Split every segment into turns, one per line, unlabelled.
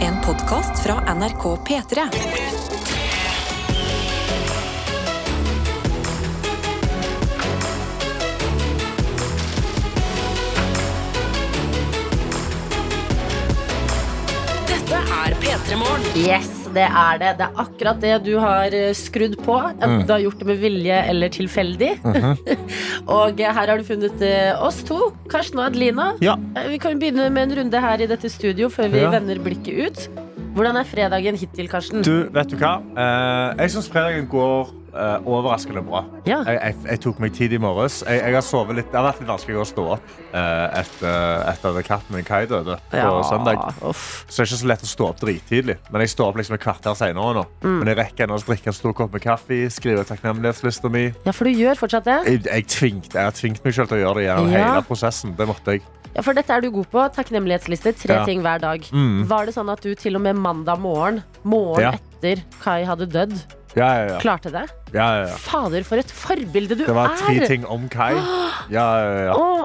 En podkast fra NRK P3. Dette er P3 Morgen.
Yes, det er det. Det er akkurat det du har eh, skrudd på. Enten
Mm.
du har gjort det med vilje eller tilfeldig.
Mhm.
og eh, her har du funnet eh, oss to. Karsten og Adelina.
Ja.
Eh, Vi kan jo begynne med en runde her i dette studio før vi
Ja.
vender blikket ut. Hvordan er fredagen hittil, Karsten?
Du, vet du hva? Eh, jeg syns fredagen går eh, overraskende bra.
Ja.
Jeg, jeg, jeg tok meg tid i morges. Jeg, jeg har sovet litt. Det har vært litt vanskelig å stå opp eh, etter, etter at katten min Kai døde på
Ja,
søndag.
uff.
Så det er ikke så lett å stå opp drittidlig. Men jeg står opp liksom et kvarter senere nå.
Mm.
Men jeg rekker ennå å drikke en stor kopp med kaffe, skrive takknemlighetslista mi.
ja, for du gjør fortsatt det.
Jeg, jeg, tvingt, jeg har tvingt meg selv til å gjøre det gjennom
Ja.
hele prosessen. Det måtte jeg.
Ja, for dette er du god på. Takknemlighetsliste. Tre
Ja. Mm.
ting hver dag. Var det sånn at du til og med mandag morgen, morgen
Ja.
etter Kai hadde dødd,
Ja, ja, ja.
klarte det?
ja, ja, ja.
Fader, for et forbilde du
Det var
er!
tre ting om Kai. Ja, ja, ja.
Åh,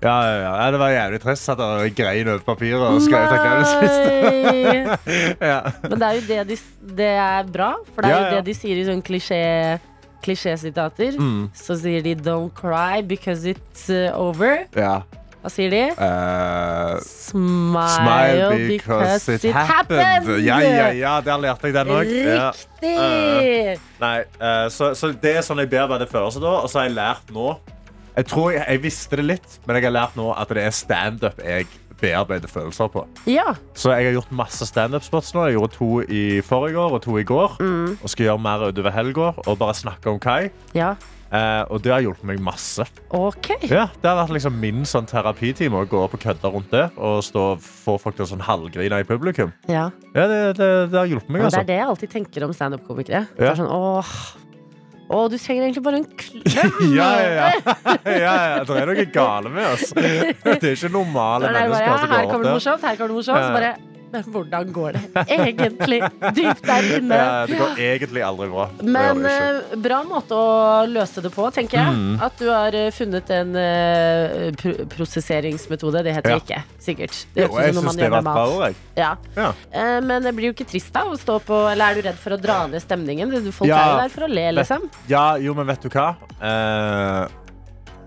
Ja, ja, ja. ja, det var jævlig trist at jeg grein over papiret og skrev takknemlighetsliste.
Nei!
Ja.
Men det er jo det de Det er bra, for det er jo
Ja, ja.
det de sier i sånn klisjé klisjésitater.
Mm.
Så sier de 'don't cry because it's uh, over'.
Ja.
Hva sier de?
eh,
Smile,
smile because, it happened. Ja, ja, ja, der lærte jeg den òg. Ja.
Riktig!
Ja. Nei, eh, så, så det er sånn jeg ber meg det følelse da, og så har jeg lært nå Jeg tror jeg, jeg visste det litt, men jeg har lært nå at det er standup jeg bearbeider følelser på.
Ja.
Så jeg har gjort masse standup-spots nå. Jeg gjorde to i forrige år og to i går. Og skal gjøre mer utover helga og bare snakke om Kai.
ja.
Eh, og det har hjulpet meg masse.
OK.
Ja, det har vært liksom min sånn terapitime å gå opp og kødde rundt det. Og stå og få folk til å sånn halvgrine i publikum.
Ja.
Ja, det, det, det har hjulpet meg,
Men det
altså.
er det jeg alltid tenker om standup-komikere. Det
Ja.
er Sånn, åh, åh, du trenger egentlig bare en klem.
Ja, ja, ja. ja, ja. Det er noe gale med oss. Det er ikke
Da
normale
er det bare,
mennesker
ja, her
som
kommer
går opp
det
der.
morsomt, her kommer det morsomt. Så
Ja.
bare Men hvordan går det egentlig dypt der inne?
Ja, det går egentlig aldri bra. Det gjør
Men
det ikke.
eh, bra måte å løse det på, tenker jeg.
Mm.
At du har eh, funnet en eh, pro prosesseringsmetode. Det heter
Ja.
det ikke, sikkert.
Jo,
høres ut
jeg
som noe man
syns det
gjør
var
med
et
mat.
bra ord, jeg.
Ja.
Ja.
Eh, men det blir jo ikke trist da å stå på Eller er du redd for å dra ned stemningen? Folk er
Ja.
jo der for å le, liksom.
ja, jo, men vet du hva? Eh,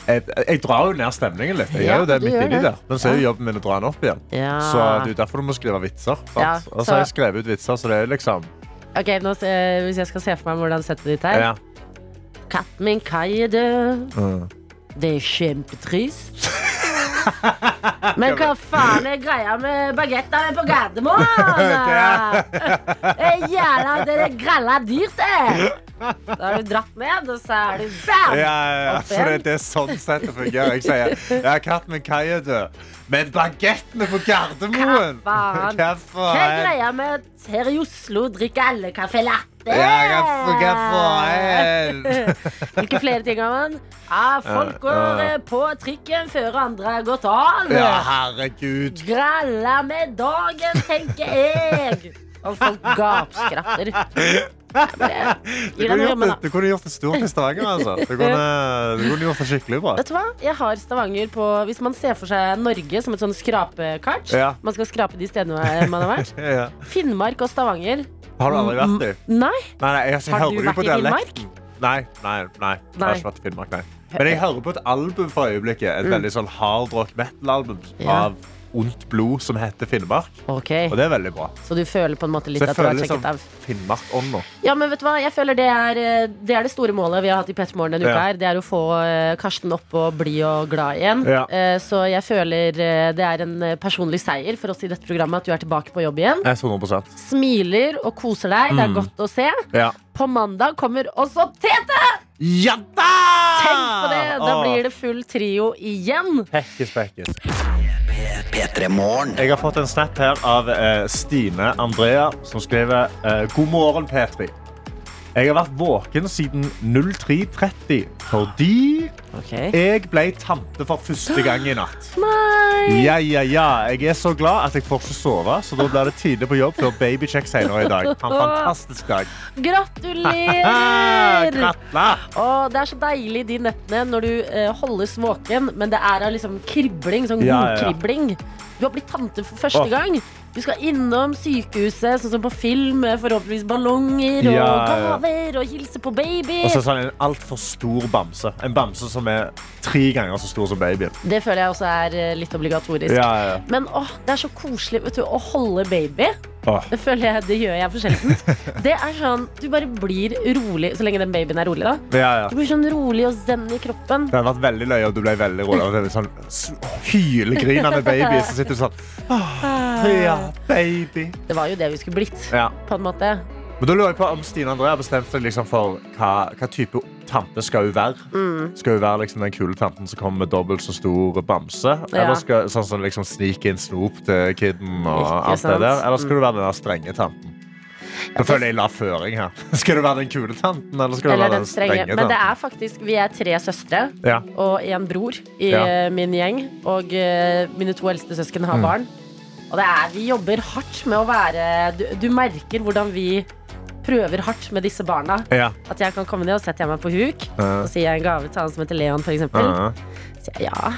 jeg, jeg drar jo ned stemningen litt. Jeg
Ja,
gjør jo det
du
midt
gjør
inni
det.
der. Men så er jo jobben min å dra den opp igjen.
Ja.
Så det er jo derfor du må skrive vitser. sant?
Ja,
og
så-
så har jeg skrevet ut vitser, så det er liksom
Ok, nå, se- Hvis jeg skal se for meg hvordan settet ditt er
ja.
Katten min Kai er død.
Mm.
Det er kjempetrist. Men hva faen er greia med bagettene på Gardermoen? Det er jævla det er grella dyrt, det. Da har du dratt ned, og så er du
Ja,
bam!
ja, ja.
Opp
Så det,
igjen.
det er sånn sett det fungerer. Jeg sier ja, katten min Kai er død, men bagettene på Gardermoen!
Hva faen?
Hva
Hva er
faen?
greia med at her i Oslo drikker alle caffè latte?
Ja, hva f- hva faen?
Hvilke flere ting har man? Ja, folk går eh, på trikken før andre har gått av.
Ja, herregud.
Gralla med dagen, tenker jeg. Og folk gapskratter.
Du kunne gjort det, du kunne gjort det stort i Stavanger, altså. Du kunne, du kunne gjort det skikkelig bra.
Vet du hva? Jeg har Stavanger på Hvis man ser for seg Norge som et sånn skrapekart
Ja.
Man skal skrape de stedene man har vært.
Ja.
Finnmark og Stavanger.
Har du aldri vært i?
Nei.
Nei, nei, jeg, jeg
Mm, Har du
hører jo
vært
på
i Finnmark?
dialekten. Nei, nei, nei. Jeg
Nei. Mm.
har ikke vært i Finnmark, nei. Men jeg hører på et album for øyeblikket. Et veldig sånn hard rock metal-album
Ja.
av Ondt blod som heter Finnmark.
Ok,
Og det er veldig bra.
Så du føler på en måte litt
Så
at
jeg
du har
føler
sjekket
liksom
av?
Finnmark-ånda.
Ja, men vet du hva? Jeg føler det er eh, det, er det store målet vi har hatt i P3 Morgen denne uka.
Ja.
her Det er å få eh, Karsten opp og blid og glad igjen.
Ja.
Eh, Så jeg føler eh, det er en eh, personlig seier for oss i dette programmet at du er tilbake på jobb igjen.
100
Smiler og koser deg.
Mm.
Det er godt å se.
Ja.
På mandag kommer også Tete!
ja da!
Tenk på det! Da blir det full trio igjen.
Pekkes, pekkes. Jeg har fått en snap her av eh, Stine Andrea, som skriver eh, God morgen, P3. Jeg har vært våken siden 03.30 fordi jeg ble tante for første gang i natt.
Nei!
Ja, ja, ja. Jeg er så glad at jeg får ikke sove, så da blir det tidlig på jobb før babycheck senere i dag. Ha En fantastisk dag.
Gratulerer!
Gratulerer!
Åh, det er så deilig de nettene når du eh, holdes våken, men det er av liksom kribling, sånn
Ja, ja, ja.
godkribling. Du har blitt tante for første
Åh.
gang. Du skal innom sykehuset, sånn som på film, med forhåpentligvis ballonger og
Ja, ja.
gaver og hilse på baby.
Og så sånn en altfor stor bamse. En bamse som er tre ganger så stor som babyen.
Det føler jeg også er eh, litt obligatorisk.
Ja, ja.
Men åh, det er så koselig vet du, å holde baby.
Åh.
Det føler jeg, det gjør jeg for sjeldent. Det er sånn, Du bare blir rolig så lenge den babyen er rolig. da
ja, ja.
Du blir sånn rolig og zen i kroppen.
Det hadde vært veldig løye om du ble veldig rolig. av en Sånn s- hylegrinende baby som sitter sånn
Ah.
«Åh, Ja, baby.
Det var jo det vi skulle blitt.
Ja.
På en måte
Men da lurer jeg på om Stine André har bestemt seg liksom for hva, hva type tante skal hun være.
Mm.
Skal hun være liksom den kule tanten som kommer med dobbelt så stor bamse?
Ja.
Eller skal, sånn som liksom sniker inn snop til kiden og
Ikke
alt det
sant.
der? Eller skal du være den der strenge tanten? Nå føler jeg la føring her. Skal du være den kule tanten, eller skal du
Eller
være
den strenge. Men det
tanten?
er faktisk Vi er tre søstre
Ja.
og en bror i
Ja.
eh, min gjeng. Og eh, mine to eldste søsken har barn. Og det er, vi jobber hardt med å være du, du merker hvordan vi prøver hardt med disse barna.
Ja.
At jeg kan komme ned og setter jeg meg på huk.
Ja.
Så sier jeg en gave til han som heter Leon, f.eks.
Ja.
Sier jeg ja,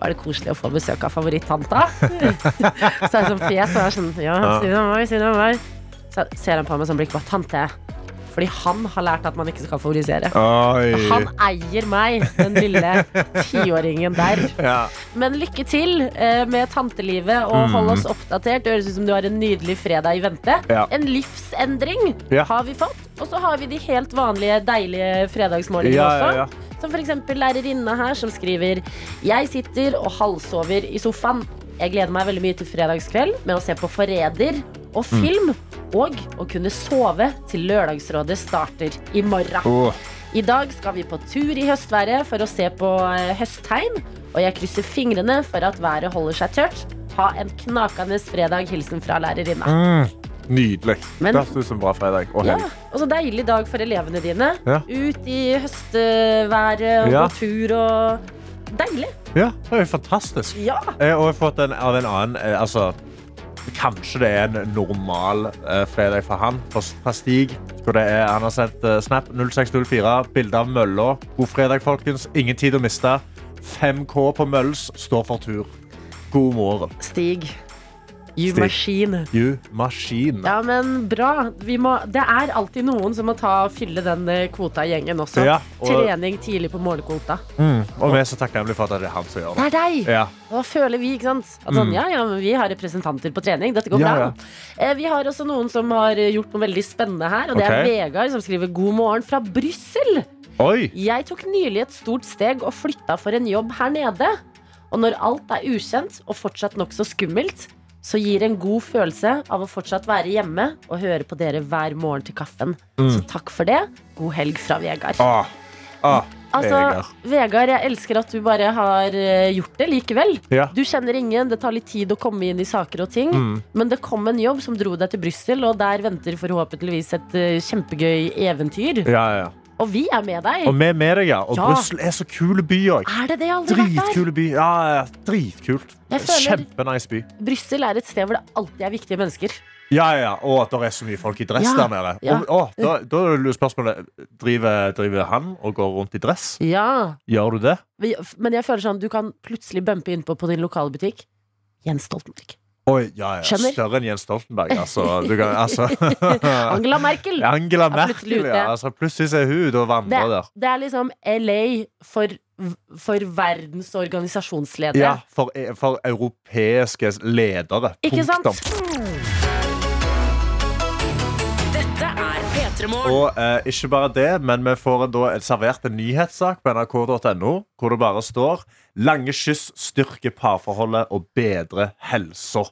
var det koselig å få besøk av favorittanta? så er det sånn fjes, og jeg er sånn ja, si det om meg, si det om meg. Så ser han på meg med sånn blikk, bare tante. Fordi han har lært at man ikke skal favorisere.
Ah, Oi.
Han eier meg, den lille tiåringen der.
Ja.
Men lykke til eh, med tantelivet,
Mm.
og hold oss oppdatert. Det høres ut som du har en nydelig fredag i vente.
Ja.
En livsendring
Ja.
har vi fått. Og så har vi de helt vanlige, deilige fredagsmålingene
Ja, ja, ja.
også. Som f.eks. lærerinne her, som skriver Jeg sitter og halvsover i sofaen. Jeg gleder meg veldig mye til fredagskveld med å se på Forræder og
Mm.
film. Og å kunne sove til Lørdagsrådet starter i morgen.
Åh.
I dag skal vi på tur i høstværet for å se på eh, høsttegn. Og jeg krysser fingrene for at været holder seg tørt. Ha en knakende fredag. Hilsen fra lærerinna.
Mm. Nydelig.
Men-
Det høres ut som en bra fredag. Og
Ja,
helg.
og så deilig dag for elevene dine.
Ja.
Ut i høstværet og
Ja.
på tur og Deilig.
Ja, det er jo fantastisk.
Ja.
Eh, Og jeg har fått en av en annen eh, altså, Kanskje det er en normal eh, fredag for han. For fra Stig. Hvor det er, han har sendt eh, Snap 0604. Bilde av mølla. God fredag, folkens. Ingen tid å miste. 5K på Mølls står for tur. God morgen.
Stig. You
Stig.
machine.
You maskin.
Ja, men bra. Vi må, det er alltid noen som må ta, fylle den eh, kvota i gjengen også.
Ja, og-
Trening tidlig på målekvota.
Og vi er så takknemlige for at det er han som gjør
Det
det.
er deg!
Ja.
Og da føler vi, ikke sant? At sånn, ja, ja, men vi har representanter på trening. Dette går
Mm. Ja,
bra. Eh, vi har også noen som har eh, gjort noe veldig spennende her. Og det
Ok.
er Vegard som skriver 'God morgen fra Brussel'.
Oi!
Jeg tok nylig et stort steg og flytta for en jobb her nede. Og når alt er ukjent og fortsatt nokså skummelt, så gir en god følelse av å fortsatt være hjemme og høre på dere hver morgen til kaffen. Så takk for det. God helg fra Vegard.
Mm. Ah. Ah.
Altså,
Vegard.
Vegard, jeg elsker at du bare har eh, gjort det likevel.
Ja.
Du kjenner ingen, det tar litt tid å komme inn i saker og ting. Men det kom en jobb som dro deg til Brussel, og der venter forhåpentligvis et eh, kjempegøy eventyr.
Ja, ja.
Og vi er med deg.
Og vi er med deg, ja. Og
Ja.
Brussel er så kul by òg.
Er det det jeg aldri har vært der?
Dritkule by. Ja, ja, dritkult.
Jeg føler-
Kjempenice by.
Brussel er et sted hvor det alltid er viktige mennesker.
Ja, ja, Og at det er så mye folk i dress
Ja,
der nede.
ja.
Og, å, da, da er det spørsmålet driver, driver han og går rundt i dress.
Ja.
Gjør du det?
Vi- f- Men jeg føler sånn, du kan plutselig bumpe innpå på din lokale butikk. Jens Stoltenberg.
Oi, ja, ja.
Skjønner.
Større enn Jens Stoltenberg, altså. Du kan, altså.
Angela Merkel!
Angela
Ja, plutselig
Merkel,
ute.
ja. Altså, plutselig så er hun ute og
Det,
vandrer der.
det er liksom LA for, for verdens organisasjonsledere.
Ja, for, for europeiske ledere.
Ikke sant?
Punktum.
Dette er P3 Morgen.
Og eh, ikke bare det, men vi får da en servert en nyhetssak på nrk.no, hvor det bare står 'Lange kyss styrker parforholdet og bedrer helsa'.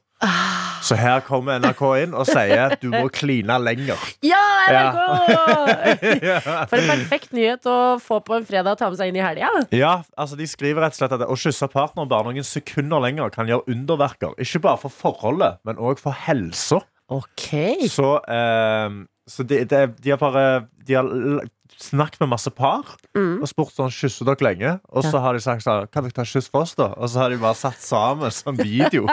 Så her kommer NRK inn og sier 'du må kline lenger'.
Ja, NRK! For en perfekt nyhet å få på en fredag og ta med seg inn i helga.
Ja, altså De skriver rett og slett at å kysse partneren bare noen sekunder lenger kan gjøre underverker. Ikke bare for forholdet, men òg for helsa.
Ok.
Så, eh, så de, de, de har bare De har l- snakket med masse par
Mm.
og spurt sånn kysser dere lenge. Og så har de sagt sånn Kan dere ta kyss for oss, da? Og så har de bare satt sammen som video.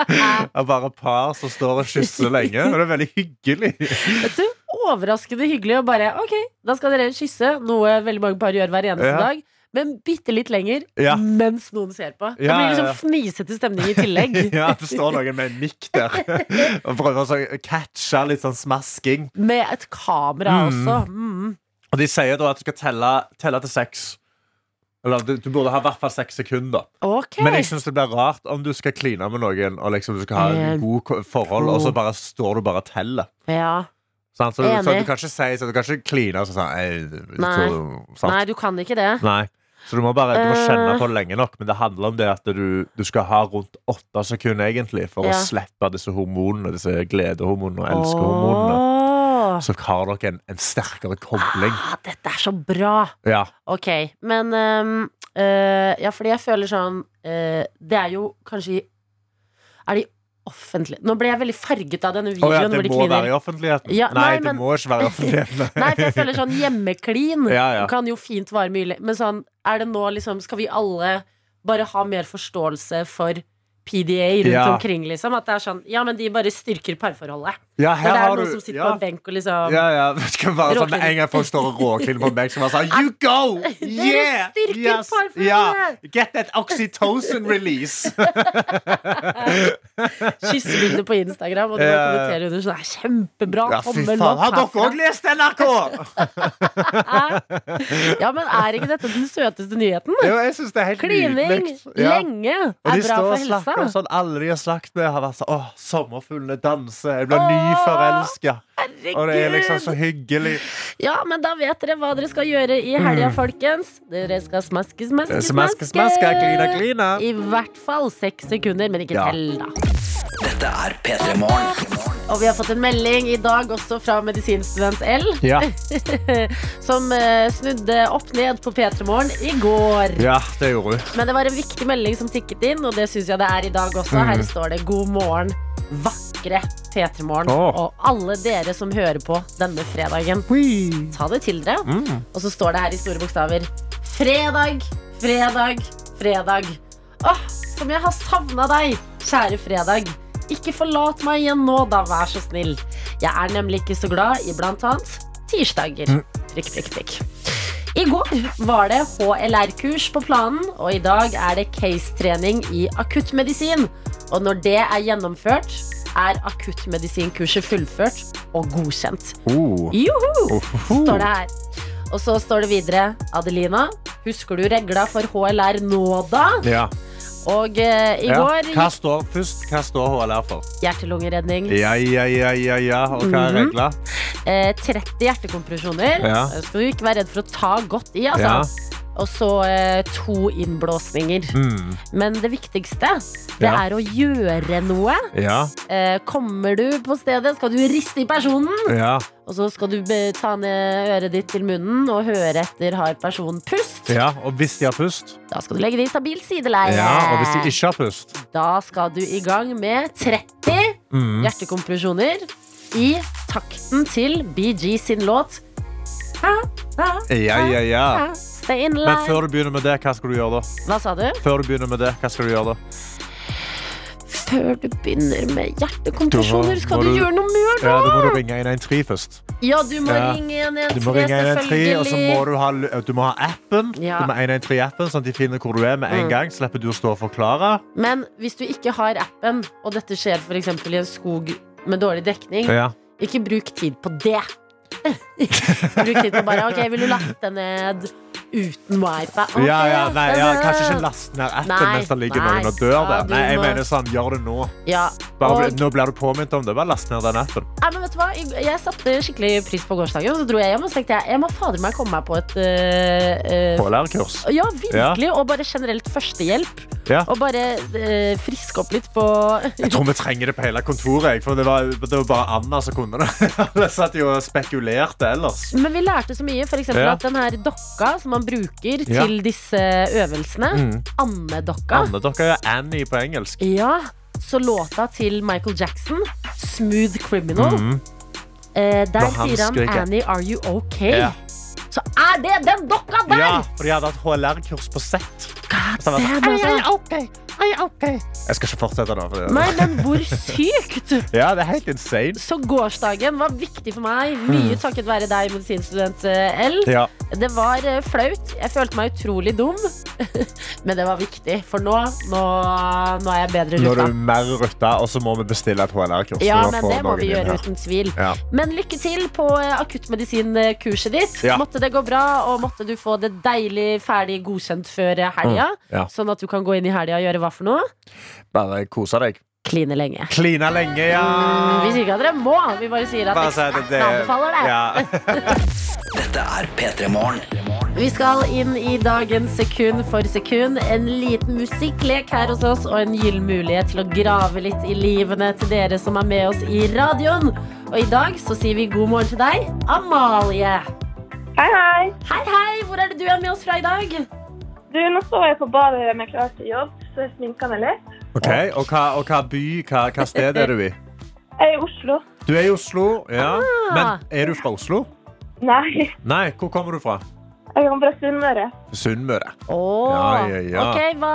Av bare par som står og kysser lenge. Og det er veldig hyggelig.
Vet du, Overraskende hyggelig å bare Ok, da skal dere kysse, noe veldig mange par gjør hver eneste
Ja.
dag. men bitte litt lenger
Ja.
mens noen ser på. Det
Ja,
blir
ja,
liksom
ja.
fnisete stemning i tillegg.
Ja, det står noen med en mikk der og prøver å så- catche litt sånn smasking.
Med et kamera
Mm.
også. Mm.
Og de sier da at du skal telle, telle til seks. Eller du, du burde ha i hvert fall seks sekunder.
Ok.
Men liksom- jeg syns det blir rart om du skal kline med noen og liksom du skal ha
Eh,
en god ko- forhold, og så bare står du bare og teller.
ja.
Sant? Så, du- så
Enig.
du kan ikke si så Du kan ikke kline og så sånn «Ei, jeg
Nei.
tror- sant?
Nei, du kan ikke det.
Nei. Så du må bare du må kjenne
Eh.
på det lenge nok. Men det handler om det at du, du skal ha rundt åtte sekunder egentlig for
Ja.
å slippe disse hormonene, disse gledehormonene og elskehormonene.
Åh.
Så har dere en, en sterkere kobling.
Ah, dette er så bra!
Ja.
Ok, men ehm, eh, Ja, fordi jeg føler sånn eh, Det er jo kanskje i Er de offentlige Nå ble jeg veldig farget av denne
Å
videoen
ja,
hvor
det
de
må være i
kliner.
offentligheten.
Ja,
nei,
nei,
det
men-
må ikke være i offentligheten.
Nei, for jeg føler sånn hjemmeklin
Ja, ja.
kan jo fint vare mye le- Men sånn, er det nå liksom Skal vi alle bare ha mer forståelse for PDA rundt
Ja.
omkring, liksom? At det er sånn Ja, men de bare styrker parforholdet.
Ja,
Når
her
det er
har
noen
du-
som sitter
ja.
på en benk og liksom
Ja, ja. Det skal være sånn med
Råkliner.
en gang folk står og råkliner på meg, så bare sånn You go! Yeah!
styrker parforholdet!
Ja. Get that oxytocin release!
Kyssebilder på Instagram, og du bare
Ja, ja.
kommenterer under sånn Det er kjempebra!
Ja, fy
tommel
faen.
opp
Har dere
herfra.
òg lest NRK?
Ja, men er ikke dette den søteste nyheten?
Jo, jeg syns det er helt
Klining
nydelig. Ja.
lenge er
Og
bra
de står
for
og snakker om
helsa.
sånn Alle de har snakket med, har vært sånn Åh, sommerfuglene danser. Jeg blir
Åh,
nyforelska. Og det er
Herregud!
liksom så hyggelig.
Ja, men da vet dere hva dere skal gjøre i helga, folkens. Dere skal smaske, smaske,
Mm. Eh, Smaske, smaske, klina, klina.
I hvert fall seks sekunder, men ikke
Ja.
tell, da.
Dette er P3 Morgen.
Og vi har fått en melding i dag også fra medisinstudent L,
Ja.
som eh, snudde opp ned på P3 Morgen i går.
ja, det gjorde hun.
Men det var en viktig melding som tikket inn, og det syns jeg det er i dag også. Her står det 'God morgen, vakre P3morgen',
Åh.
og alle dere som hører på denne fredagen. Ta det til dere. Og så står det her i store bokstaver 'Fredag, fredag, fredag'. Åh, som jeg har savna deg, kjære fredag. Ikke forlat meg igjen nå, da, vær så snill. Jeg er nemlig ikke så glad i blant annet tirsdager. Prikk, prikk, prikk. I går var det HLR-kurs på planen, og i dag er det case-trening i akuttmedisin. Og når det er gjennomført, er akuttmedisinkurset fullført og godkjent.
Oh.
Joho! Står det her. Og så står det videre, Adelina, husker du regla for HLR nå da?
Ja.
Og eh, i
ja.
går
Hva
gikk
står, først, hva står HLR for?
hjerte-lungeredning.
Ja, ja, ja, ja, ja. Og hva
Mhm.
er regler?
Eh, 30 hjertekompresjoner.
Ja.
Det skal du ikke være redd for å ta godt i, altså.
Ja.
Og så eh, to innblåsninger.
Mm.
Men det viktigste det
Ja.
er å gjøre noe.
Ja.
Eh, kommer du på stedet, skal du riste i personen.
Ja.
Og så skal du be- ta ned øret ditt til munnen og høre etter har personen pust.
ja. Og hvis de har pust?
Da skal du legge det i stabil sideleie.
Ja. Og hvis de ikke har pust?
Da skal du i gang med 30
Mm.
hjertekompresjoner i takten til BG sin låt. Ha, ha,
Ja, ja, ja.
ha, stay in
Men
line.
før du begynner med det, hva skal du gjøre da?
Hva sa du?
Før du begynner med det, hva skal du gjøre da?
Før du begynner med hjertekompresjoner, skal
må
du
du-
gjøre noe mer,
Ja,
da!
da må du ringe 113 først.
Ja, du må
Ja.
ringe 113,
Du må ringe 113, og så må
selvfølgelig.
du ha, du må ha appen.
Ja.
Du må ha 113-appen, sånn at de finner hvor du er med en
Mm.
gang. Slipper du å stå og forklare.
Men hvis du ikke har appen, og dette skjer for eksempel i en skog med dårlig dekning,
Ja.
ikke bruk tid på det. bruk tid på bare Ok, vil du laste ned uten wifi? Ok,
Ja, ja, nei,
laste
ja,
ned.
kanskje ikke laste ned appen
Nei,
mens det ligger
nei.
noen og dør
Ja,
der.
du
Nei, jeg
må-
mener sånn, gjør det nå.
Ja.
Bare,
Og-
bli- nå blir du påminnet om det. Bare last ned den appen.
Nei, men vet du hva? Jeg- Jeg satte skikkelig pris på gårsdagen, og så dro jeg hjem og så tenkte jeg, jeg må fader meg komme meg på et øh, øh,
HLR-kurs.
Ja, virkelig. Og bare generelt førstehjelp.
Ja.
Og bare eh, friske opp litt på
Jeg tror vi trenger det på hele kontoret. jeg, For det var, det var bare Anna som kunne det. Alle satt jo og spekulerte ellers.
Men vi lærte så mye. For eksempel
Ja.
at den her dokka som man bruker
Ja.
til disse øvelsene,
Mm.
andedokka
Anne, dere er Annie på engelsk.
Ja, så låta til Michael Jackson, 'Smooth Criminal',
Mhm.
eh, der
Når han
sier han
skrek, ja.
'Annie, are you ok?'
Ja.
Så er det den dokka der!
Ja, for de hadde hatt HLR-kurs på sett.
God
Så han var sånn,
damn, altså.
Jeg skal ikke fortsette nå. For det.
Nei, men hvor sykt!
Ja, det er helt insane.
Så gårsdagen var viktig for meg, mye
Mm.
takket være deg, medisinstudent eh, L.
Ja.
Det var eh, flaut. Jeg følte meg utrolig dum. Men det var viktig, for nå, nå, nå er jeg bedre
Når du
ruta.
er mer rutta, og så må vi bestille et HLR-kurs.
Ja,
for å
men
få
det må
noen
vi
inn
gjøre
her.
uten tvil.
Ja.
Men lykke til på eh, akuttmedisinkurset ditt.
Ja.
Måtte det gå bra, og måtte du få det deilig ferdig godkjent før eh, helga.
Mm, Ja.
Sånn at du kan gå inn i helga og gjøre hva for noe?
Bare kose deg.
Kline lenge.
Kline lenge, ja.
Vi sier ikke at dere må, vi bare sier at
Bare si at
ekspertene anbefaler det.
Ja.
Dette er P3 Morgen.
Vi skal inn i dagens sekund for sekund. En liten musikklek her hos oss og en gyllen mulighet til å grave litt i livene til dere som er med oss i radioen. Og i dag så sier vi god morgen til deg, Amalie.
Hei, hei.
Hei, hei! Hvor er det du er med oss fra i dag?
Du, nå står jeg på badet med klar til jobb, så jeg sminker meg litt.
Ok, Og hva, og hva by, hva, hva sted er du i?
Jeg er i Oslo.
Du er i Oslo, ja. Men er du fra Oslo?
Nei,
Nei, hvor kommer du fra?
jeg kommer fra Sunnmøre.
Sunnmøre.
Åh,
Ja, ja, ja.
Ok, hva,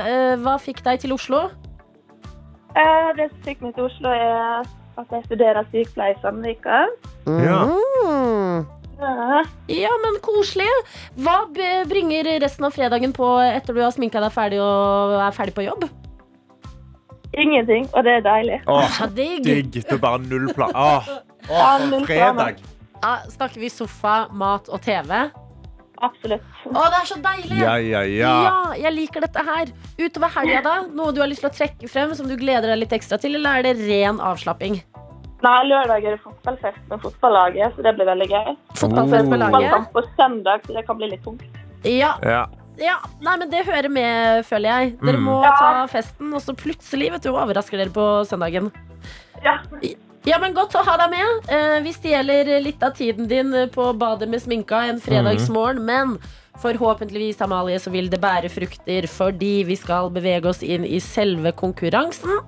eh, hva fikk deg til Oslo?
Eh, Det som fikk meg til Oslo, er at jeg studerer sykepleie i Sandvika.
Ja. Hmm.
Mm.
Ja.
Ja, men koselig. Hva b- bringer resten av fredagen på etter du har sminka deg ferdig og er ferdig på jobb?
Ingenting, og det er deilig.
Åh,
Ja, digg.
digg. Det er bare null plan. Åh,
Ja,
åh,
null planer.
fredag.
Ja, snakker vi sofa, mat og TV? Å,
Absolutt.
det er så deilig!
Ja, ja, ja.
Ja, jeg liker dette her. Utover helga, da? Noe du har lyst til å trekke frem som du gleder deg litt ekstra til, eller er det ren avslapping?
Nei, lørdag er det fotballfest med fotballaget, så det blir veldig gøy.
Fotballfest med laget?
Fotballkamp på søndag, så det kan bli litt tungt.
Ja,
Ja.
ja. Nei, men det hører med, føler jeg. Dere
Mm.
må
Ja.
ta festen, og så plutselig vet du, overrasker dere på søndagen.
Ja.
Ja, men Godt å ha deg med. Eh, vi stjeler litt av tiden din eh, på badet med sminka en fredagsmorgen, men forhåpentligvis Amalie, så vil det bære frukter fordi vi skal bevege oss inn i selve konkurransen.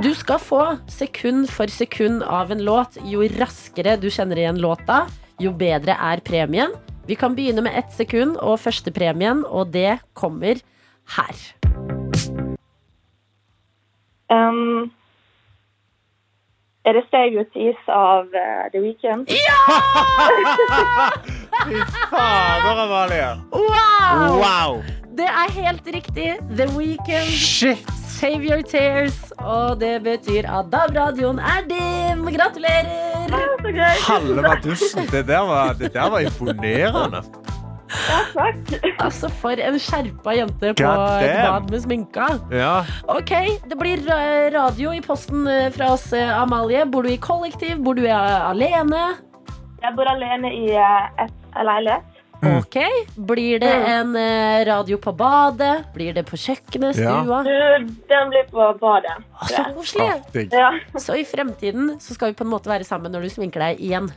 Du skal få sekund for sekund av en låt. Jo raskere du kjenner igjen låta, jo bedre er premien. Vi kan begynne med ett sekund og førstepremien, og det kommer her.
Um, er det Save Your Teeth av eh, The Weeknd?
Fy fader, Amalie.
Wow!
Wow.
Det er helt riktig. The Weekend.
Shit.
Save your tears. Og det betyr at DAB-radioen er din. Gratulerer!
Ja, Så gøy.
Halve madussen. Det der var, det der var imponerende.
Takk.
Altså, for en skjerpa jente på
God
et
damn.
bad med sminka.
Ja.
Ok, det blir eh, radio i posten eh, fra oss, eh, Amalie. Bor du i kollektiv? Bor du eh, alene?
Jeg bor alene i eh, et en leilighet.
Ok, Blir det en eh, radio på badet? Blir det på kjøkkenet?
Ja.
Stua?
Du, den blir på badet.
Å, Så koselig!
Ah, digg.
Ja.
Så i fremtiden så skal vi på en måte være sammen når du sminker deg igjen.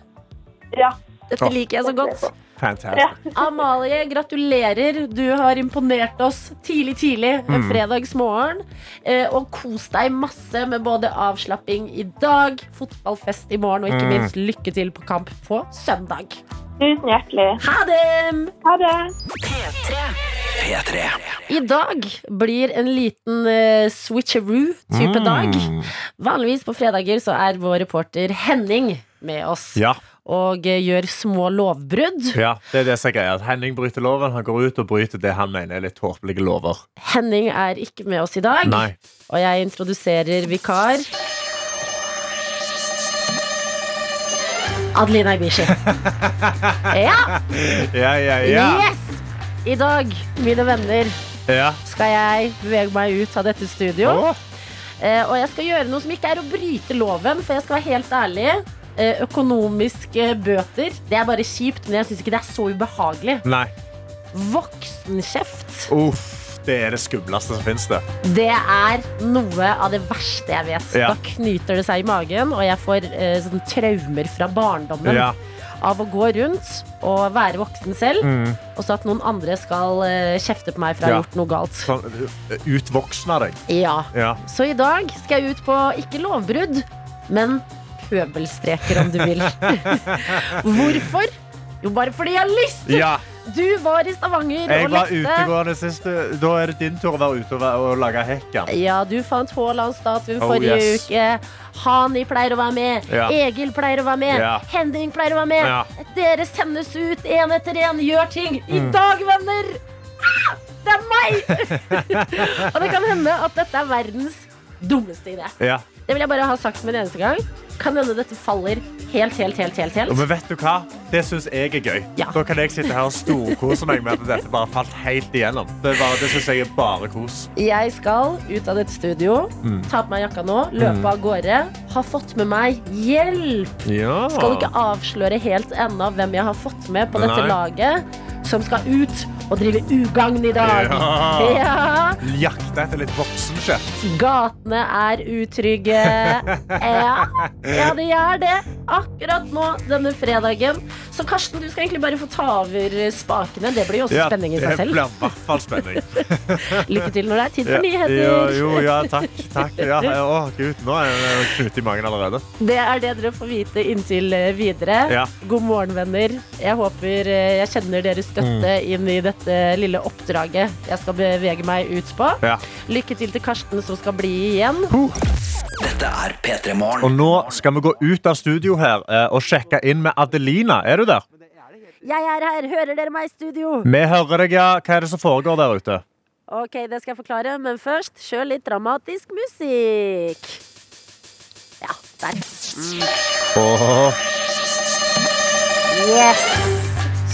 ja.
Dette
Ja.
liker jeg så godt.
Fantastisk.
Amalie, gratulerer. Du har imponert oss tidlig, tidlig en
Mm.
fredagsmorgen. Eh, og kos deg masse med både avslapping i dag, fotballfest i morgen, og ikke
Mm.
minst lykke til på kamp på søndag.
Tusen hjertelig.
Ha det!
Ha det.
P3.
I dag blir en liten eh, switcheroo-type
Mm.
dag. Vanligvis på fredager så er vår reporter Henning med oss
Ja,
og eh, gjør små lovbrudd.
ja, det er det som er greia. At Henning bryter loven. Han går ut og bryter det han mener er litt tåpelige lover.
Henning er ikke med oss i dag.
Nei.
Og jeg introduserer vikar Adelina Ibishi. Ja!
Ja, ja, ja.
Yes! I dag, mine venner,
ja.
skal jeg bevege meg ut av dette studio.
Åh,
Eh, og jeg skal gjøre noe som ikke er å bryte loven, for jeg skal være helt ærlig. Eh, økonomiske bøter. Det er bare kjipt, men jeg syns ikke det er så ubehagelig.
Nei.
Voksenkjeft,
Uff. Det er det skumleste som fins, det.
det er noe av det verste jeg vet.
Ja.
Da knyter det seg i magen, og jeg får eh, sånne traumer fra barndommen.
Ja.
av å gå rundt og være voksen selv, og så at noen andre skal eh, kjefte på meg for å ha
Mm. Ja.
gjort noe galt.
Sånn utvoksna deg.
Ja.
Ja.
Så i dag skal jeg ut på ikke lovbrudd, men pøbelstreker, om du vil. Hvorfor? Jo, bare fordi jeg har lyst!
ja.
Du var i Stavanger
Jeg
og
var
lette.
utegående sist. uh, Da er det din tur å være ute og, være- og lage hekken.
Ja, du fant Haaland-statuen
Oh,
forrige
yes.
uke. Hani pleier å være med.
Ja.
Egil pleier å være med.
Ja.
Henning pleier å være med.
Ja. Mm.
Dere sendes ut én etter én, gjør ting. I dag, venner! Ah, det er meg! og det kan hende at dette er verdens dummeste idé.
Ja.
Det vil jeg bare ha sagt med en eneste gang. Kan hende dette faller helt, helt, helt, helt. helt.
Og men vet du hva? Det syns jeg er gøy.
Ja.
Da kan jeg sitte her og storkose meg med at dette bare falt helt igjennom. Det, er bare- det synes jeg er bare kos.
Jeg skal ut av dette studio,
Mm.
ta på meg jakka nå, løpe av gårde. Har fått med meg hjelp! Skal ikke avsløre helt ennå hvem jeg har fått med på dette
Nei.
laget, som skal ut og drive ugagn i dag.
Ja.
Ja.
Jakte etter litt voksenkjeft.
Gatene er utrygge. Ja. ja, de er det akkurat nå denne fredagen. Så Karsten, du skal egentlig bare få ta over spakene. Det blir jo også spenning i
det
seg
blir
selv.
i hvert fall spenning.
Lykke til når det er tid for
Ja,
nyheter.
ja, jo, ja, takk. takk. Ja, ja, å, Gud, nå er det knut i magen allerede.
Det er det dere får vite inntil eh, videre.
Ja.
God morgen, venner. Jeg håper eh, jeg kjenner deres støtte
Mm.
inn i dette lille oppdraget jeg skal bevege meg ut på.
Ja.
Lykke til til Karsten som skal bli igjen.
Dette er P3
Og
Morgen.
nå skal vi gå ut av studio her eh, og sjekke inn med Adelina. Er du der?
Jeg er her, hører dere meg i studio?
Vi hører deg, ja. Hva er det som foregår der ute?
Ok, det skal jeg forklare, men først kjør litt dramatisk musikk. Ja, der.
Åh,
Yes!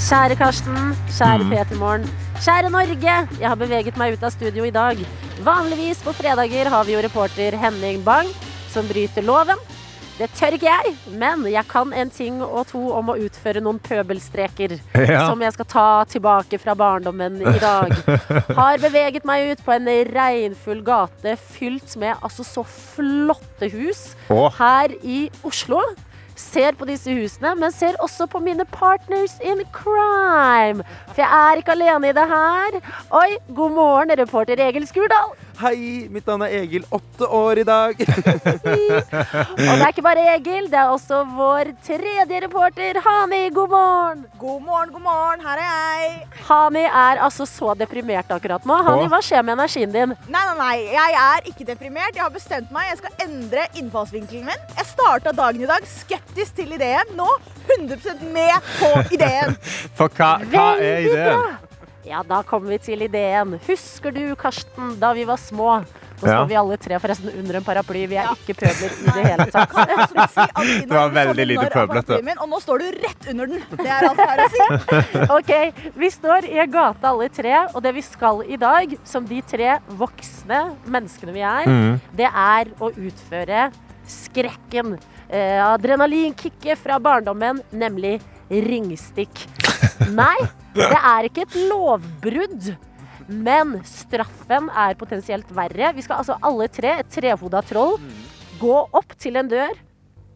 Kjære Karsten, kjære Petermorgen, kjære Norge. Jeg har beveget meg ut av studio i dag. Vanligvis på fredager har vi jo reporter Henning Bang som bryter loven. Det tør ikke jeg, men jeg kan en ting og to om å utføre noen pøbelstreker.
Ja.
Som jeg skal ta tilbake fra barndommen i dag. Har beveget meg ut på en regnfull gate fylt med altså så flotte hus
Åh.
her i Oslo. Ser på disse husene, men ser også på mine partners in crime. For jeg er ikke alene i det her. Oi, god morgen, reporter Egil Skurdal.
Hei, mitt navn er Egil, åtte år i dag.
Og det er ikke bare Egil, det er også vår tredje reporter, Hani. God morgen.
God morgen, god morgen, her er jeg.
Hani er altså så deprimert akkurat nå. Hani,
Åh.
hva skjer med energien din?
Nei, nei, nei, jeg er ikke deprimert. Jeg har bestemt meg. Jeg skal endre innfallsvinkelen min. Jeg starta dagen i dag skeptisk til ideen. Nå 100 med på ideen.
for hva, hva er
Veldig
ideen?
bra. Ja, da kommer vi til ideen. Husker du, Karsten, da vi var små? Nå står
Ja.
vi alle tre forresten under en paraply. Vi er ikke pøbler i det hele tatt.
Kan absolutt si at Ina
Det var
hadde
veldig
sånne
lite
narr av
pøblete.
paraplyen Min, og nå står du rett under den. Det er alt her å si.
Ok, Vi står i en gate alle tre, og det vi skal i dag, som de tre voksne menneskene vi er, det er å utføre skrekken. Eh, adrenalinkicket fra barndommen, nemlig ringstikk. Nei, det er ikke et lovbrudd. Men straffen er potensielt verre. Vi skal altså alle tre, et trehoda troll, gå opp til en dør,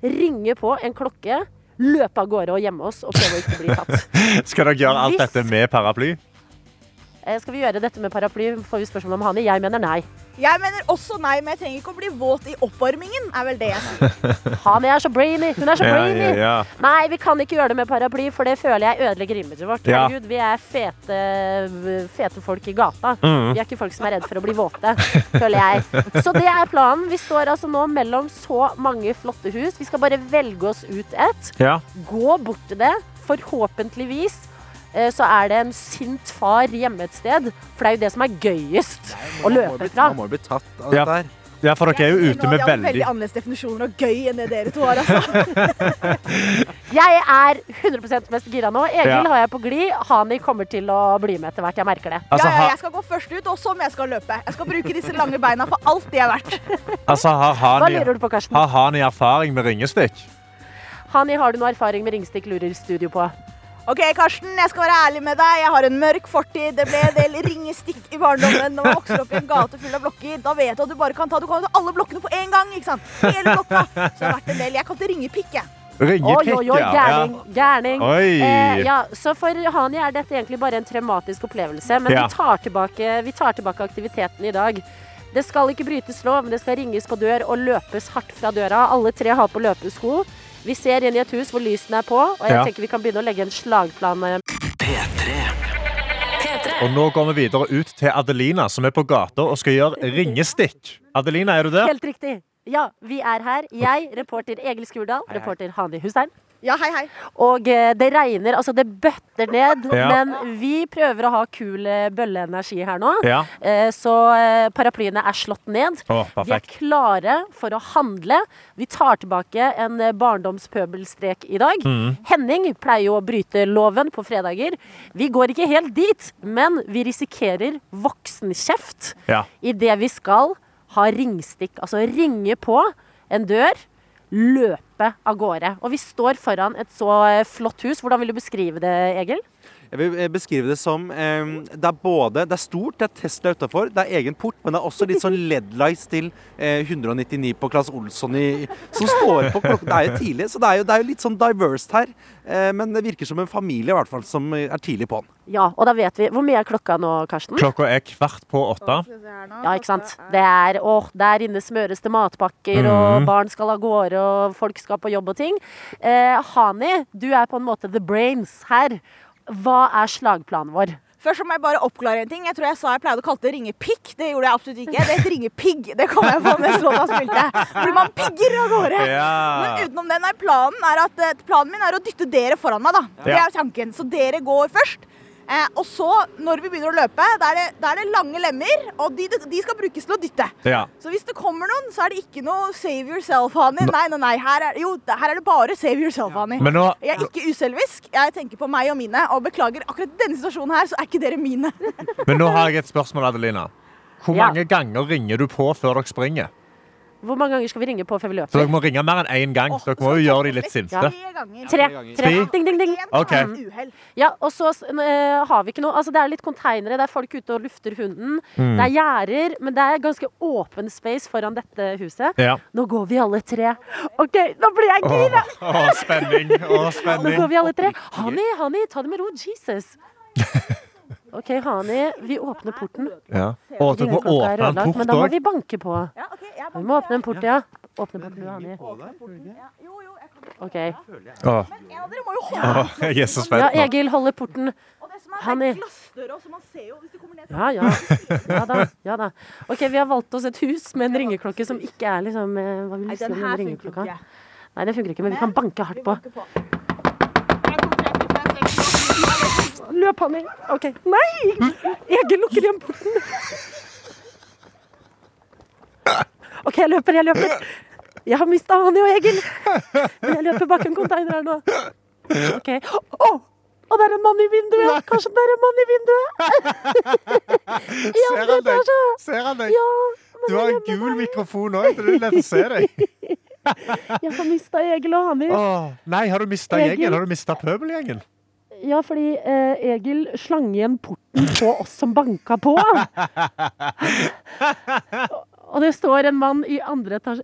ringe på en klokke, løpe av gårde og gjemme oss og prøve å ikke bli tatt.
Skal dere gjøre
Hvis-
alt dette med paraply?
Eh, Skal vi gjøre dette med paraply? Får vi spørsmål om Hani? Jeg mener nei.
Jeg mener også nei, men jeg trenger ikke å bli våt i oppvarmingen, er vel det jeg sier.
Hani er så brainy! Hun er så
Ja,
brainy!
ja, ja.
Nei, vi kan ikke gjøre det med paraply, for det føler jeg ødelegger imaget vårt.
Ja.
Herregud, vi er fete, fete folk i gata.
Mm.
Vi er ikke folk som er redd for å bli våte, føler jeg. Så det er planen. Vi står altså nå mellom så mange flotte hus. Vi skal bare velge oss ut ett.
Ja.
Gå bort til det. Forhåpentligvis eh, så er det en sint far hjemme et sted. For det er jo det som er gøyest å løpe fra.
Man må jo bli tatt av
Ja.
dette her.
ja, for dere er jo ute med
Jeg har veldig
veldig
annerledes definisjoner av gøy enn det dere to har. Altså.
Jeg er 100 mest gira nå. Egil
Ja.
har jeg på glid. Hani kommer til å bli med etter hvert. Jeg merker det.
altså,
ja, ja,
ha,
jeg skal gå først ut, og som jeg skal løpe. Jeg skal bruke disse lange beina for alt de er verdt.
altså, har
Hva
Hani,
lurer du på, Karsten?
har Hani erfaring med ringestikk?
Hani, har du noe erfaring med Ringstikk lurer studio på?
Ok, Karsten, jeg skal være ærlig med deg. Jeg har en mørk fortid. Det ble en del ringestikk i barndommen. Når man vokser opp i en gate full av blokker, da vet du at du bare kan ta, du kan ta alle blokkene på en gang. ikke sant? Hele blokka. Så det har vært en del. Jeg kalte det ringepikk, jeg.
Oi, oi,
Ringepikk,
oi,
ja.
gærning. gærning.
Oi.
Eh, ja, så for Hani er dette egentlig bare en traumatisk opplevelse. Men
Ja.
vi, tar tilbake, vi tar tilbake aktiviteten i dag. Det skal ikke brytes lov, men det skal ringes på dør og løpes hardt fra døra. Alle tre har på løpesko. Vi ser inn i et hus hvor lysene er på, og jeg
Ja.
tenker vi kan begynne å legge en slagplan. eh,
P3.
Og nå går vi videre ut til Adelina, som er på gata og skal gjøre ringestikk. Adelina, er du der?
Helt riktig. Ja, vi er her. Jeg, reporter Egil Skurdal, reporter Hani Hussein.
Ja, hei, hei.
Og eh, det regner, altså det bøtter ned,
Ja.
men vi prøver å ha kul eh, bølleenergi her nå.
Ja.
Eh, Så eh, paraplyene er slått ned.
Å,
Vi er
perfekt.
klare for å handle. Vi tar tilbake en eh, barndomspøbelstrek i dag.
Mm.
Henning pleier jo å bryte loven på fredager. Vi går ikke helt dit, men vi risikerer voksenkjeft
Ja.
idet vi skal ha ringstikk. Altså ringe på en dør, løpe av gårde. Og vi står foran et så eh, flott hus. Hvordan vil du beskrive det, Egil?
Jeg vil eh, beskrive det som eh, Det er både, det er stort, det er Tesla utafor, det er egen port, men det er også litt sånn LED-lights til eh, 199 på Claes Olsson i, som står på klokken. Det er jo tidlig, så det er jo, det er jo litt sånn diverst her. Eh, men det virker som en familie i hvert fall som eh, er tidlig på'n.
Ja, og da vet vi Hvor mye er klokka nå, Karsten?
Klokka er kvart på åtte.
Ja, ikke sant? Det er, åh, der inne smøres det matpakker,
Mhm.
og barn skal av gårde, og folk skal på jobb og ting. Eh, Hani, du er på en måte the brains her. Hva er slagplanen vår?
Først så må jeg bare oppklare en ting. Jeg tror jeg sa jeg pleide å kalle det ringepikk. Det gjorde jeg absolutt ikke. Det heter ringepigg. Det kom jeg på mens låta spilte. Fordi man pigger av gårde.
Ja.
Men utenom den er planen er at eh, planen min er å dytte dere foran meg, da. Det
Ja.
er tanken. Så dere går først. Eh, og så, når vi begynner å løpe, da er det, da er det lange lemmer, og de, de skal brukes til å dytte.
Ja.
Så hvis det kommer noen, så er det ikke noe save yourself, Hani. Nei, nei, nei. Her er, jo, her er det bare save yourself, Hani.
Men nå
Jeg er ikke uselvisk. Jeg tenker på meg og mine. Og beklager, akkurat denne situasjonen her, så er ikke dere mine.
Men nå har jeg et spørsmål, Adelina. Hvor
Ja.
mange ganger ringer du på før dere springer?
Hvor mange ganger skal vi ringe på før vi
Så
løper?
dere må ringe mer enn én gang.
Åh,
Dere må jo gjøre de litt sinte.
Tre ganger.
Tre. tre.
Tre?
Ding, ding, ding.
En
Ok.
er et uhell.
Ja, og så eh, har vi ikke noe Altså, det er litt konteinere, det er folk ute og lufter hunden.
Mm.
Det er gjerder, men det er ganske åpen space foran dette huset.
Ja.
Nå går vi alle tre. OK, nå blir jeg
Åh,
gira!
åh, spenning. Åh,
Nå
spenning.
går vi alle tre. Hani, Hani, ta det med ro. Jesus. OK, Hani, vi åpner porten.
Ja. Åh, dere må
Klokka er
åpne en
ødelagt, men
port
da må
òg.
vi banke på.
Ja, ok, jeg
Vi
bare-
må åpne en port, ja. Åpne porten, du, Hani.
Jo, jo, jeg kan
OK.
En av dere må jo holde
Åh, Jeg er så
Ja,
spent. nå.
Egil holder porten.
Og det som er,
Hani.
det er glassdøra, så man ser jo hvis det kommer ned.
Ja, ja. Ja da. ja da. OK, vi har valgt oss et hus med en ringeklokke som ikke er liksom eh, Hva vil
Nei,
du si
den
om
her
den
funker jo
ringeklokka?
ikke.
Nei, det funker ikke, men vi kan banke hardt på.
Banker på. En, to, tre, fire, fem, seks, sju, åtte, ni, ti, elleve,
Løp,
tolv.
Hani. OK. Nei! Egil lukker igjen porten. OK, jeg løper, jeg løper. Jeg har mista Hani og Egil. Men jeg løper bak en container her nå. OK. Å! Å, det er en mann i vinduet! Kanskje det er en mann i vinduet? I
Ser
andre
han deg?
etasje!
Ser han deg?
Ja, men
Du har en
jeg
gul mikrofon òg. Du vil neppe se deg.
har mista Egil og Hani.
Åh, nei, har du mista
Egil.
gjengen? Har du mista pøbelgjengen?
Ja, fordi eh, Egil slang igjen porten på oss som banka på. Og det står en mann i andre etasje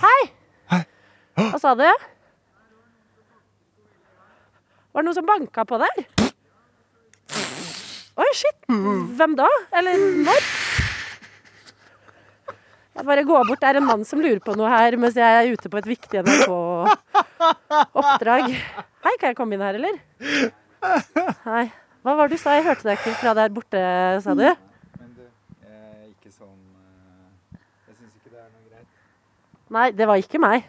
Hei! Hva sa du? Var det noen som banka på der? Oi, shit. Hvem da? Eller når? Jeg bare går bort. Det er en mann som lurer på noe her mens jeg er ute på et viktig NRK oppdrag. Hei, kan jeg komme inn her, eller? Hei. Hva var det du sa? Jeg hørte deg ikke fra der borte, sa du. Nei, det var ikke meg.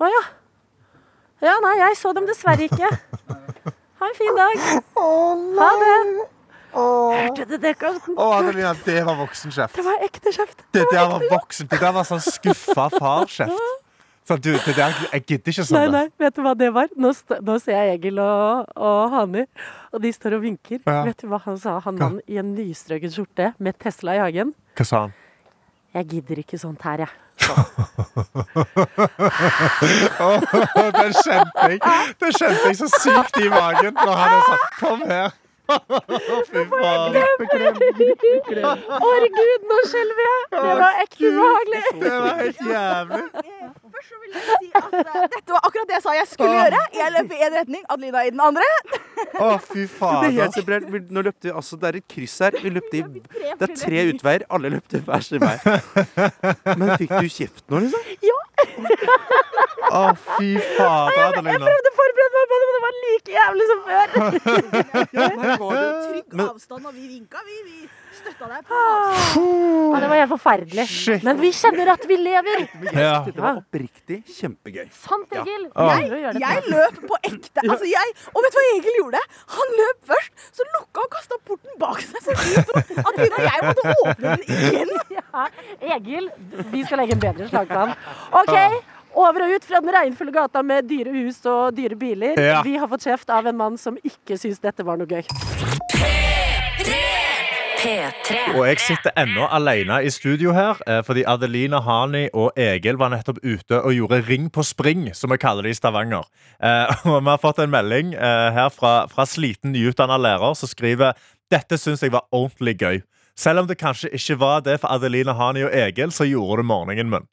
Å ja. Ja, nei, jeg så dem dessverre ikke. Ha en fin dag. Ha det. Hørte du det, Karsten?
Åh, Adelina, det var voksenkjeft.
Det var ekte kjeft.
Det der var voksen. Det der var sånn skuffa farskjeft. Sånn, du, det der, jeg gidder
Nei,
ikke sånn.
nei, vet du hva det var? Nå, st nå ser jeg Egil og, og Hani, og de står og vinker.
Ja.
Vet du hva han sa, han mannen i en nystrøket skjorte med Tesla i hagen?
Hva sa han?
Jeg gidder ikke sånt her, jeg.
Åh, Den kjente jeg Den kjente jeg så sykt i magen når han sa 'kom her'. Fy faen.
Herregud, nå skjelver jeg! Det var ekte ubehagelig.
Det var helt jævlig.
Eh, Først så vil jeg si at eh, dette var akkurat det jeg sa jeg skulle gjøre. Jeg løp i én retning, Adelina i den andre.
Å, fy
Det er
fader.
helt supplert. Vi- Nå løpte vi altså, det er et kryss her. Vi løpte i, det er tre utveier. Alle løpte hver sin vei. Men fikk du kjeft nå, liksom?
Ja.
Å, fy fader, Adelina.
prøvde å forberede meg på det, men det var like jævlig som før.
Der går det trygg
Men-
avstand, og vi vinka, vi. Vi støtta deg på
Ah.
avstand.
Ja, det var helt forferdelig.
Shit.
Men vi kjenner at vi lever.
Ja.
Det var oppriktig kjempegøy.
Sant, Egil?
Ja.
Vi gjør det
Jeg løp på ekte. Altså jeg, og vet du hva Egil gjorde? Han løp først, så lukka og kasta porten bak seg så vidt at hun og jeg måtte åpne den igjen.
Ja, Egil, vi skal legge en bedre slagplan. OK. Over og ut fra den regnfulle gata med dyre hus og dyre biler.
Ja.
Vi har fått kjeft av en mann som ikke syns dette var noe gøy.
P3.
Og jeg sitter ennå alene i studio her, eh, fordi Adelina Hani og Egil var nettopp ute og gjorde Ring på spring, som vi kaller det i Stavanger. Eh, Og vi har fått en melding eh, her fra, fra sliten nyutdanna lærer som skriver dette syns jeg var ordentlig gøy. Selv om det kanskje ikke var det for Adelina Hani og Egil, så gjorde det morgenen min.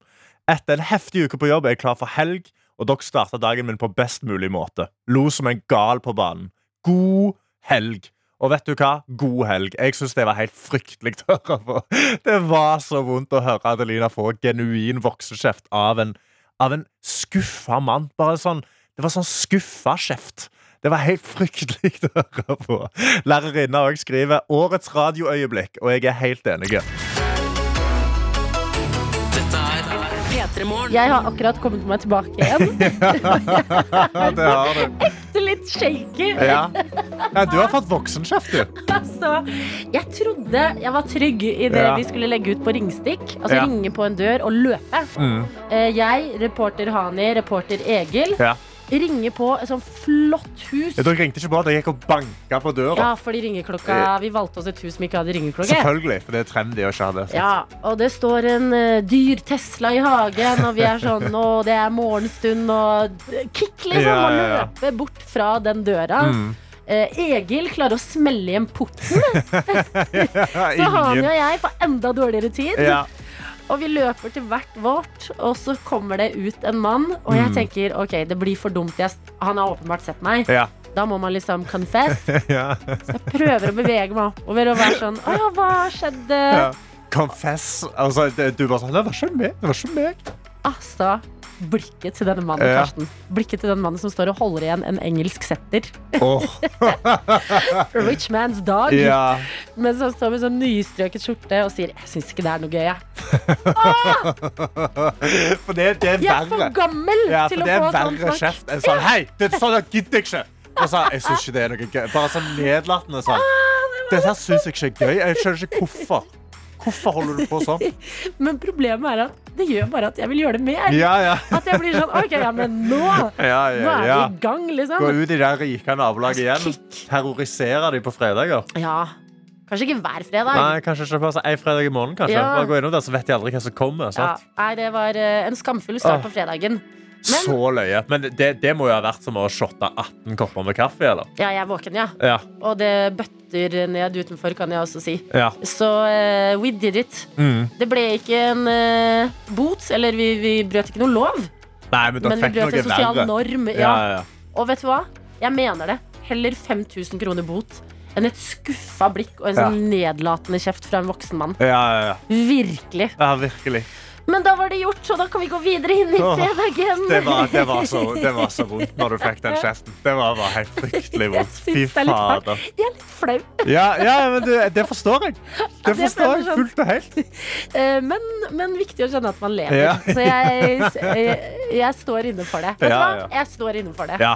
Etter en heftig uke på jobb er jeg klar for helg, og dere starta dagen min på best mulig måte. Lo som en gal på banen. God helg. Og vet du hva? God helg. Jeg syns det var helt fryktelig å høre på. Det var så vondt å høre Adelina få genuin voksekjeft av en, av en skuffa mann. Bare sånn, det var sånn skuffa kjeft. Det var helt fryktelig å høre på. Lærerinna òg skriver 'Årets radioøyeblikk', og jeg er helt enig.
Dette er
P3morgen.
Jeg har akkurat kommet meg tilbake igjen.
det har du.
Det er litt shaky.
Ja. ja, du har fått voksenkjeft, du.
Altså, jeg trodde jeg var trygg i det
Ja.
vi skulle legge ut på ringstikk. Altså
Ja.
ringe på en dør og løpe. Eh, Jeg, reporter Hani, reporter Egil,
Ja.
ringer på et sånt flott hus.
Dere ringte ikke på, dere gikk og banka på døra.
Ja, fordi ringeklokka Vi valgte oss et hus som ikke hadde ringeklokke.
Eh. Selvfølgelig, for det er trendy å ikke ha det.
Ja, og det står en eh, dyr Tesla i hagen, og vi er sånn Og det er morgenstund, og kick, liksom.
Ja,
Og
ja, Mm. ja.
løpe bort fra den døra. Eh, Egil klarer å smelle igjen porten, så Hani og jeg får enda dårligere tid.
Ja.
Og vi løper til hvert vårt, og så kommer det ut en mann. Og
Mm.
jeg tenker ok, det blir for dumt. Jeg, han har åpenbart sett meg.
Ja.
Da må man liksom confess.
Ja.
Jeg prøver å bevege meg oppover og være sånn Å ja, hva skjedde?
Ja. Confess. Altså, det, du bare sånn Det var ikke meg. Det var ikke meg.
Altså, blikket til denne mannen,
Ja.
Karsten. Blikket til den mannen som står og holder igjen en engelsk setter.
Åh,
A Rich man's dog.
ja.
Men som står med sånn nystrøket skjorte og sier 'Jeg syns ikke det er noe gøy, jeg'.
For det, det er
Jeg er for
verre.
gammel
Ja, for
til å
det er
få sånn
verre
snakk.
kjeft enn sånn Hei, det er sånn at gidder jeg ikke. Og så, jeg syns ikke det er noe gøy. Bare sånn nedlatende
Ah,
sånn. Dette her syns jeg ikke er gøy. Jeg skjønner ikke hvorfor. Hvorfor holder du på sånn?
Men problemet er at det gjør bare at jeg vil gjøre det mer.
Ja, ja.
At jeg blir sånn OK, ja, men nå,
ja,
nå
ja,
er vi
ja.
i gang,
Gå
liksom.
ut i det rike nabolaget
Altså,
igjen. Terrorisere dem på fredager.
Ja. Kanskje ikke hver fredag.
Nei, kanskje ikke passe en fredag i måneden. kanskje
Ja.
Bare gå innom der, så vet de aldri hva som kommer.
Ja,
Sant?
nei, det var eh, en skamfull start på fredagen. Men-
Så løye. Men det, det må jo ha vært som å shotte 18 kopper med kaffe, eller?
Ja, jeg er våken, ja.
Ja.
Og det bøtter ned utenfor, kan jeg også si.
ja.
Så eh, we did it.
Mm.
Det ble ikke en eh, bot, eller vi, vi brøt ikke noe lov,
Nei, men dere
men vi
fikk
brøt
noe
en sosial
verre.
norm.
Ja,
Ja.
ja,
Og vet du hva? Jeg mener det. Heller 5000 kroner bot enn et skuffa blikk og en sånn nedlatende kjeft fra en voksen mann.
ja. ja, ja, ja.
Virkelig.
ja virkelig.
Men da var det gjort, og da kan vi gå videre inn i
Åh,
fredagen.
Det var, det, var så, det var så vondt når du fikk den kjeften. Det var bare helt fryktelig
Jeg
vondt. Fy
syns det er litt hardt.
fader.
Jeg er litt flau.
Ja, ja, men det, det forstår jeg. Det
det
forstår
føles
jeg
sånn.
fullt og helt.
Eh, Men, men viktig å skjønne at man lever.
Ja.
Så jeg, jeg, jeg står inne for det. Vet du
Ja,
hva?
ja.
Jeg står inne for det.
Ja.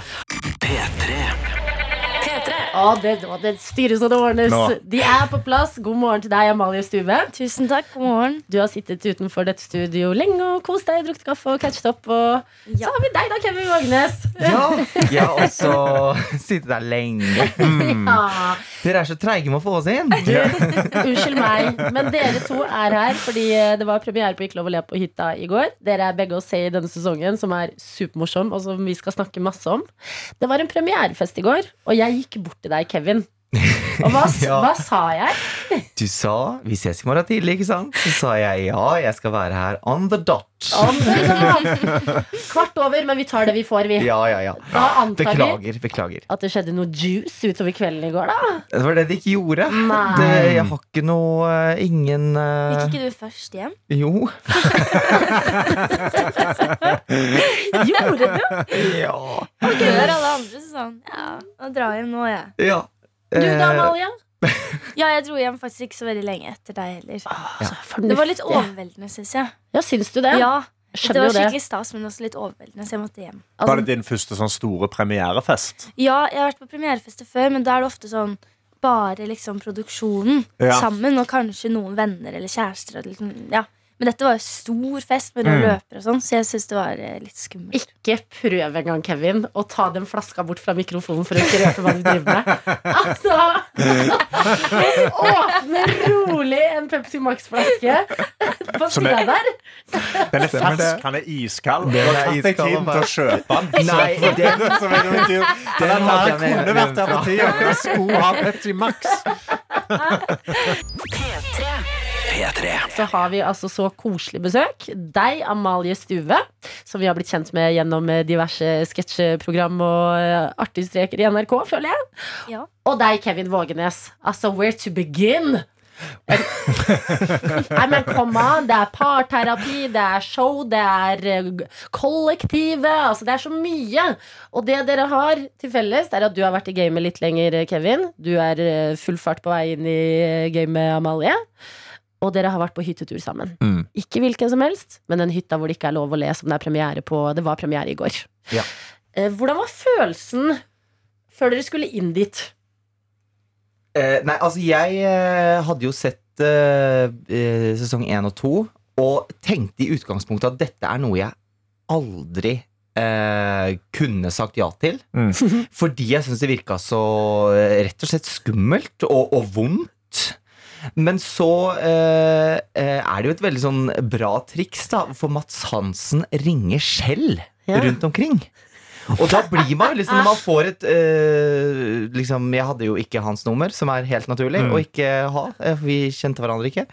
P3
P3.
Å, det, å, det styres og det ordnes.
Nå.
De er på plass. God morgen til deg, Amalie Stuve.
Tusen takk, god morgen.
Du har sittet utenfor dette studio lenge og kost deg, drukket kaffe og catchet opp. Og
Ja.
så har vi deg, da, Kevin Vågenes.
Ja, jeg har også sittet der lenge.
Mm.
Ja.
Dere er så treige med å få oss inn.
Unnskyld meg, men dere to er her fordi eh, det var premiere på Ikke lov å le på hytta i går. Dere er begge å se i denne sesongen, som er supermorsom, og som vi skal snakke masse om. Det var en premierefest i går, og jeg gikk bort til deg, Kevin. Og hva,
Ja.
hva sa jeg?
Du sa 'vi ses i morgen tidlig', ikke sant? Så sa jeg ja, jeg skal være her on the dot.
Om det sånn. Kvart over, men vi tar det vi får, vi.
Ja, ja, ja.
Da antar vi
Beklager, beklager.
at det skjedde noe juice utover kvelden i går, da.
Det var det det ikke gjorde.
Nei.
Det, jeg har ikke noe eh, Ingen eh,
Gikk ikke du først hjem?
Jo.
Gjorde du?
Ja.
Før alle andre så sa han ja, nå drar jeg hjem nå, jeg.
ja.
Du da,
Eh,
Malia?
Ja, jeg dro hjem faktisk ikke så veldig lenge etter deg heller. Det
Det
var litt overveldende, syns jeg.
Ja, syns du det?
Ah, Ja, Det
Skjønner
var
jo det.
skikkelig stas, men også litt overveldende, så jeg måtte hjem.
Var det
Altså,
din første sånn store premierefest?
Ja, jeg har vært på premierefester før, men da er det ofte sånn bare liksom produksjonen
Ja.
sammen, og kanskje noen venner eller kjærester. og Liksom, ja. Men dette var jo stor fest med
Mm.
noen løpere og sånn, så jeg syns det var eh, litt skummelt.
ikke prøv engang, Kevin, å ta den flaska bort fra mikrofonen for å ikke røpe hva du driver med. Altså Åpne rolig en Pepsi Max-flaske på
Som
sida
er-
der.
Den er
Stemmer det.
fersk, han er iskald. Du
Den
har
er
tatt deg
iskald,
tiden til å kjøpe den.
Eh, Nei, det,
Så vet du ikke. Den
hadde
her
jeg med
kunne vært der på
hjemmefra.
tida. Jeg skulle ha Pepsi Max.
P3.
P3.
så har vi altså så koselig besøk. Deg, Amalie Stuve, som vi har blitt kjent med gjennom eh, diverse sketsjeprogram og eh, artigstreker i NRK, føler jeg.
Ja.
Og deg, Kevin Vågenes. Altså, where to begin? Nei, men kom an! Det er parterapi, det er show, det er eh, kollektivet. Altså, det er så mye. Og det dere har til felles, det er at du har vært i gamet litt lenger, eh, Kevin. Du er eh, full fart på vei inn i eh, gamet, Amalie. Og dere har vært på hyttetur sammen.
Mm.
Ikke hvilken som helst, men den hytta hvor det ikke er lov å le, som det er premiere på. Det var premiere i går.
Ja.
Eh, Hvordan var følelsen før dere skulle inn dit?
Eh, nei, altså jeg eh, hadde jo sett eh, eh, sesong 1 og 2 og tenkte i utgangspunktet at dette er noe jeg aldri eh, kunne sagt ja til. Fordi jeg syns det virka så eh, rett og slett skummelt og, og vondt. Men så eh, eh, er det jo et veldig sånn bra triks, da, for Mats Hansen ringer selv
Ja.
rundt omkring. Og da blir man jo liksom Når man får et eh, liksom, Jeg hadde jo ikke hans nummer, som er helt naturlig å ikke ha. eh, for Vi kjente hverandre ikke.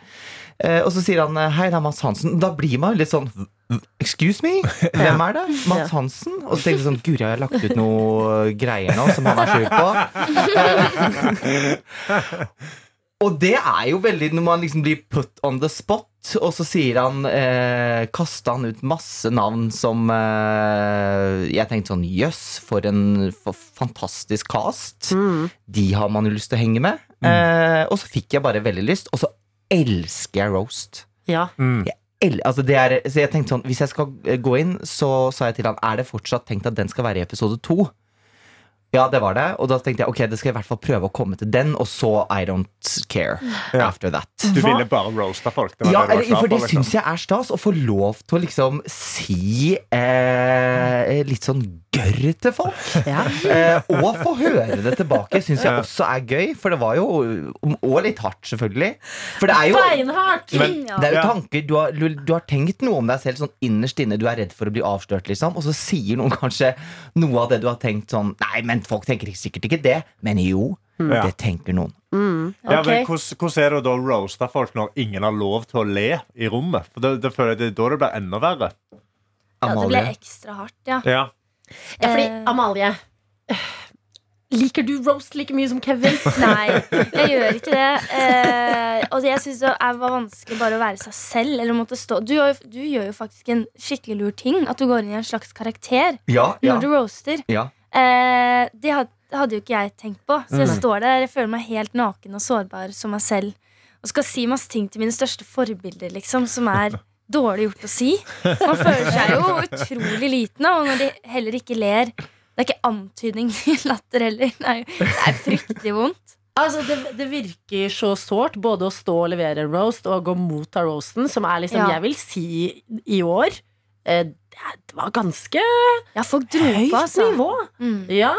Eh, og så sier han eh, 'Hei, det er Mads Hansen'. Da blir man jo litt sånn Excuse me? Hvem er det? Mads Hansen? Og så tenkte jeg sånn Guri, jeg har lagt ut noe greier nå som han er skjult på. Og det er jo veldig når man liksom blir put on the spot, og så sier han eh, Kasta han ut masse navn som eh, Jeg tenkte sånn Jøss, for en for fantastisk cast. De har man jo lyst til å henge med. Eh, og så fikk jeg bare veldig lyst, og så elsker jeg roast.
Ja.
Mm.
El, altså det er, så jeg tenkte sånn, Hvis jeg skal eh, gå inn, så sa jeg til han Er det fortsatt tenkt at den skal være i episode to. Ja, det var det. Og da tenkte jeg ok, det skal jeg i hvert fall prøve å komme til den, og så I don't care after that.
Du ville bare roaste folk. Det var
Ja,
det du var
eller,
klar
for det
på, liksom.
syns jeg er stas å få lov til å liksom si eh, litt sånn gørr til folk. Eh, og få høre det tilbake syns jeg også er gøy, for det var jo Og litt hardt, selvfølgelig. For det er jo
Beinhardt!
ja.
det er jo
Ja.
tanker du har, du, du har tenkt noe om deg selv sånn innerst inne. Du er redd for å bli avslørt, liksom. Og så sier noen kanskje noe av det du har tenkt sånn Nei, men folk tenker ikke- sikkert ikke det. Men jo,
Ja.
det tenker noen.
Ja, men
Ok.
hvordan, hvordan er det da å roaste folk når ingen har lov til å le i rommet? For det, det føler jeg det er da det blir enda verre.
Ja, det ble
Amalie.
ekstra hardt, ja.
Ja.
Ja, fordi
Eh.
Amalie Liker du roast like mye som Kevin?
Nei, jeg gjør ikke det. Eh, og jeg syns det er- var vanskelig bare å være seg selv. Eller måtte stå. Du, gjør jo- du gjør jo faktisk en skikkelig lur ting. At du går inn i en slags karakter
Ja, ja,
når du roaster.
ja.
Eh, det had, hadde jo ikke jeg tenkt på. Så jeg
Mm.
står der, jeg føler meg helt naken og sårbar som meg selv. Og skal si masse ting til mine største forbilder, liksom, som er dårlig gjort å si. Man føler seg jo utrolig liten, og når de heller ikke ler Det er ikke antydning til latter heller. Det er, jo, det er fryktelig vondt.
Altså, det, det virker så sårt både å stå og levere en roast og å motta roasten, som er liksom,
Ja.
jeg vil si, i år eh, Det er- det var ganske
Ja, folk dro
høyt
på, altså.
nivå.
Mm.
Ja,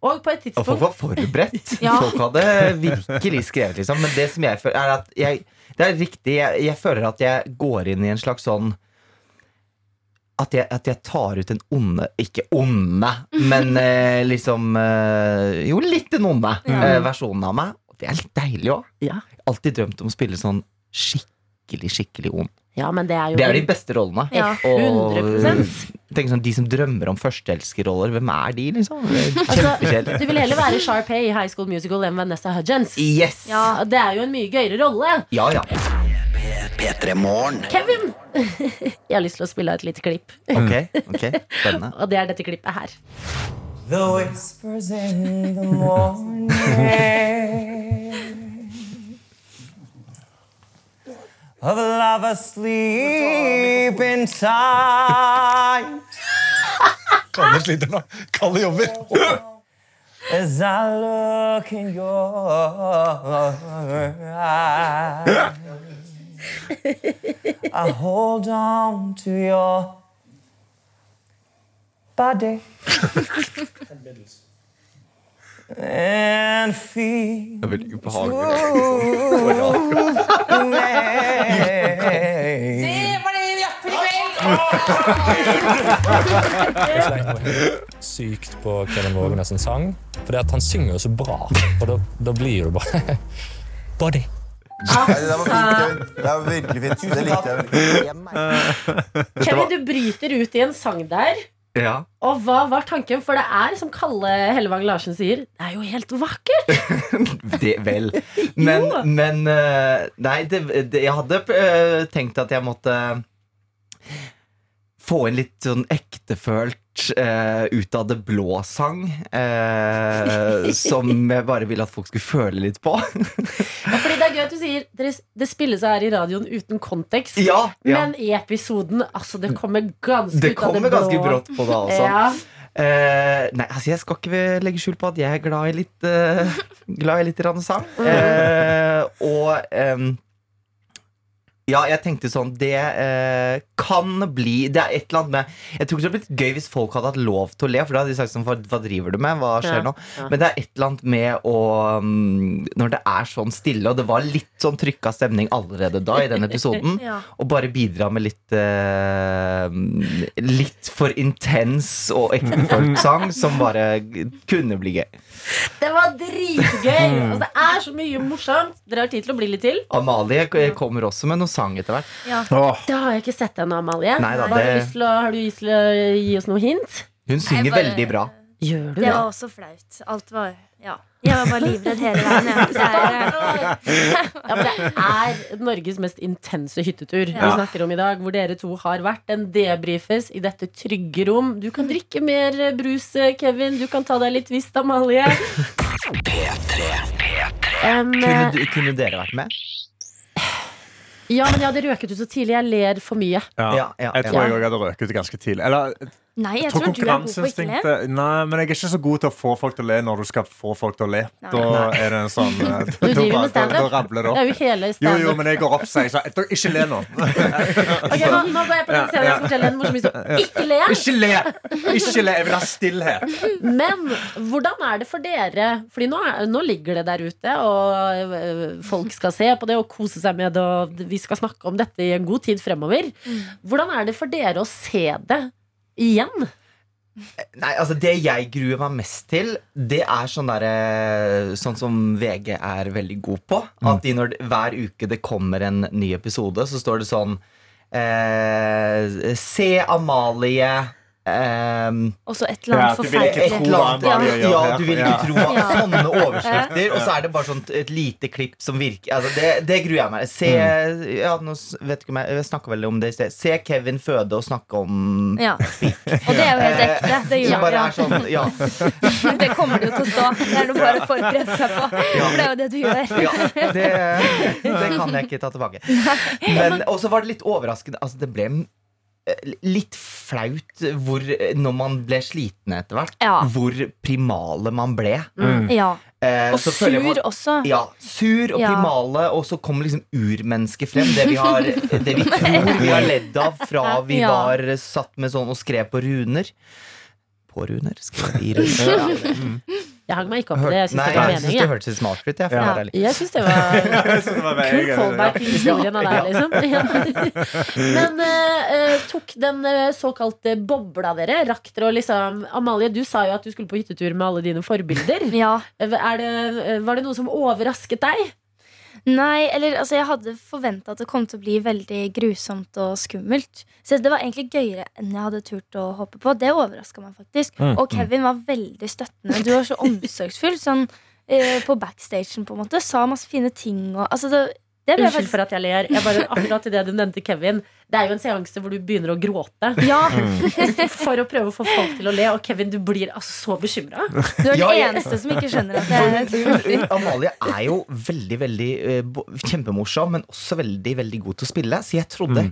og på et
Og
tidspunkt
folk var forberedt.
Ja.
Folk hadde virkelig skrevet, liksom. Men det som jeg føler, er at jeg Det er riktig. Jeg, jeg føler at jeg går inn i en slags sånn at jeg, at jeg tar ut den onde Ikke onde, men eh, liksom eh, Jo, litt den onde eh, versjonen av meg. Og det er litt deilig òg.
Ja.
Alltid drømt om å spille sånn skikkelig, skikkelig ond.
ja, men det er jo
Det er de beste rollene.
Ja.
Og
100
tenk sånn, De som drømmer om førsteelskerroller, hvem er de, liksom? Det er
altså,
Kjempekjedelig.
Du vil heller være Sharpay i High School Musical enn Vanessa Hudgens.
Yes! Ja,
Ja, Det er jo en mye gøyere rolle.
ja.
Kevin! Jeg har lyst til å spille av et lite klipp,
Ok, ok, spennende.
og det er dette klippet her.
Kalle sliter nå. Kalle jobber.
Det er veldig ubehagelig.
Sykt på Kevin Vågenes sang. Fordi at han synger jo så bra. Og da, da blir du bare Body.
Det er virkelig fint. Det likte jeg veldig.
Kevin, du bryter ut i en sang der.
Ja.
Og hva var tanken? For det er, som Kalle Hellevang Larsen sier, det er jo helt vakkert.
Det, vel. Men, men eh, Nei, det, det, jeg hadde eh, tenkt at jeg måtte få inn litt sånn ektefølt eh, ut av det blå-sang. eh, som jeg bare ville at folk skulle føle litt på.
Ja, fordi det er gøy at du sier dere, det spilles her i radioen uten kontekst.
ja, ja.
Men i episoden, altså, det kommer ganske
Det
ut av det
kommer ganske
blå.
brått på altså. da også.
Ja.
Eh, nei, altså jeg skal ikke legge skjul på at jeg er glad i litt eh, Glad i litt grann sang.
Mm.
Eh, og em, ja, jeg tenkte sånn Det eh, kan bli Det er et eller annet med Jeg tror ikke det hadde blitt gøy hvis folk hadde hatt lov til å le, for da hadde de sagt sånn Hva, hva driver du med? Hva skjer
Ja,
nå?
ja.
Men det er et eller annet med å mm, Når det er sånn stille, og det var litt sånn trykka stemning allerede da i den episoden,
Ja.
og bare bidra med litt eh, Litt for intens og ektefølt sang som bare kunne bli gøy.
Det var dritgøy! Altså, det er så mye morsomt. Dere har tid til å bli litt til.
Amalie kommer også med noe sang etter hvert.
Åh,
Det har jeg ikke sett ennå, Amalie.
Nei da,
har, du
det-
lyst til å, har du lyst til å gi oss noe hint?
Hun synger
Nei, bare-
veldig bra.
Gjør du
Det
det?
var også flaut. Alt var Ja. Jeg var bare livredd hele veien. jeg. Så er, eh,
Ja, men det er Norges mest intense hyttetur vi snakker om i dag, hvor dere to har vært. Den debrifes i dette trygge rom. Du kan drikke mer eh, brus, eh, Kevin. Du kan ta deg litt visst, Amalie. Em,
Kunne,
eh,
du- kunne dere vært med?
ja, men jeg hadde røket ut så tidlig. Jeg ler for mye.
Ja, ja,
Jeg
ja.
tror jeg også hadde røket ut ganske tidlig. Eller
Nei, jeg
Jeg tror
tror du er god på å ikke le.
konkurranseinstinktet Nei, men jeg er ikke så god til å få folk til å le når du skal få folk til å le.
Nei.
Da er det en sånn eh,
Du
da-
driver med
da-
standup.
Da rabler
Det
det
er
opp.
jo hele
Jo, jo,
standup.
men jeg går opp og sier sånn "Dere, Ikke le nå.
Ok, nå, nå går jeg på den scenen jeg skal fortelle en morsom historie. Ikke le!
Ikke le! Ikke le! Jeg vil ha stillhet.
Men hvordan er det for dere? Fordi nå, er, nå ligger det der ute, og øh, folk skal se på det og kose seg med det, og vi skal snakke om dette i en god tid fremover. Hvordan er det for dere å se det igjen?
Nei, altså Det jeg gruer meg mest til, det er sånn derre Sånn som VG er veldig god på. At de når, hver uke det kommer en ny episode, så står det sånn eh, Se Amalie eh,
Og så et eller annet
Ja, du vil ikke
forferdelig.
et eller annet
hva Amalie gjør
Ja,
her.
du vil
Ja.
ikke tro at
Ja.
sånne overskrifter. Og så er det bare sånn et lite klipp som virker altså, det, det gruer jeg meg Se,
Mm.
ja, nå s- vet ikke om jeg, jeg snakket vel om det i sted. Se Kevin føde og snakke om eh,
Ja. Og det er jo helt ekte. Det,
Som
gjør,
bare
ja.
er sånn, ja
det kommer det jo til å stå. Det er det bare å forberede seg på. For det er jo det du gjør.
Ja, det, det kan jeg ikke ta tilbake. Men Og så var det litt overraskende. Altså, det ble eh, litt flaut hvor, eh, når man ble sliten etter hvert,
Ja.
hvor primale man ble.
Mm.
Ja.
Eh,
Og
så føler jeg
sur
man-
også.
Ja, sur og
Ja.
primale, og så kommer liksom urmennesket frem. Det vi, har, det vi tror vi har ledd av fra vi
Ja.
var satt med sånn og skrev på runer. På runer? Skrev i runer. Ja. Mm.
Jeg hang meg ikke opp i det. Jeg syns
Nei,
det var
jeg syns det
meningen.
hørtes litt smart ut. Jeg, for å
Ja.
være ærlig.
Jeg syns det var Kul callback i historien av deg, liksom. Men eh, eh, tok den eh, såkalte bobla dere? Rakk dere å liksom Amalie, du sa jo at du skulle på hyttetur med alle dine forbilder. Er det, eh, var det noe som overrasket deg?
Nei, eller altså, jeg hadde forventa at det kom til å bli veldig grusomt og skummelt. Så det var egentlig gøyere enn jeg hadde turt å håpe på. Det overraska meg faktisk.
Mm.
Og Kevin var veldig støttende. Du var så omsorgsfull sånn eh, på backstagen, på en måte. Sa masse fine ting og altså, det, det ble jeg
Unnskyld
faktisk-
for at jeg ler. Jeg bare, akkurat i det du nevnte Kevin Det er jo en seanse hvor du begynner å gråte.
Ja.
Mm.
For å prøve å få folk til å le. Og Kevin, du blir altså så bekymra.
Du er den
Ja, jeg-
eneste som ikke skjønner at det er
For hun- hun- Amalie er jo veldig, veldig eh, bo- kjempemorsom, men også veldig, veldig god til å spille. Så jeg trodde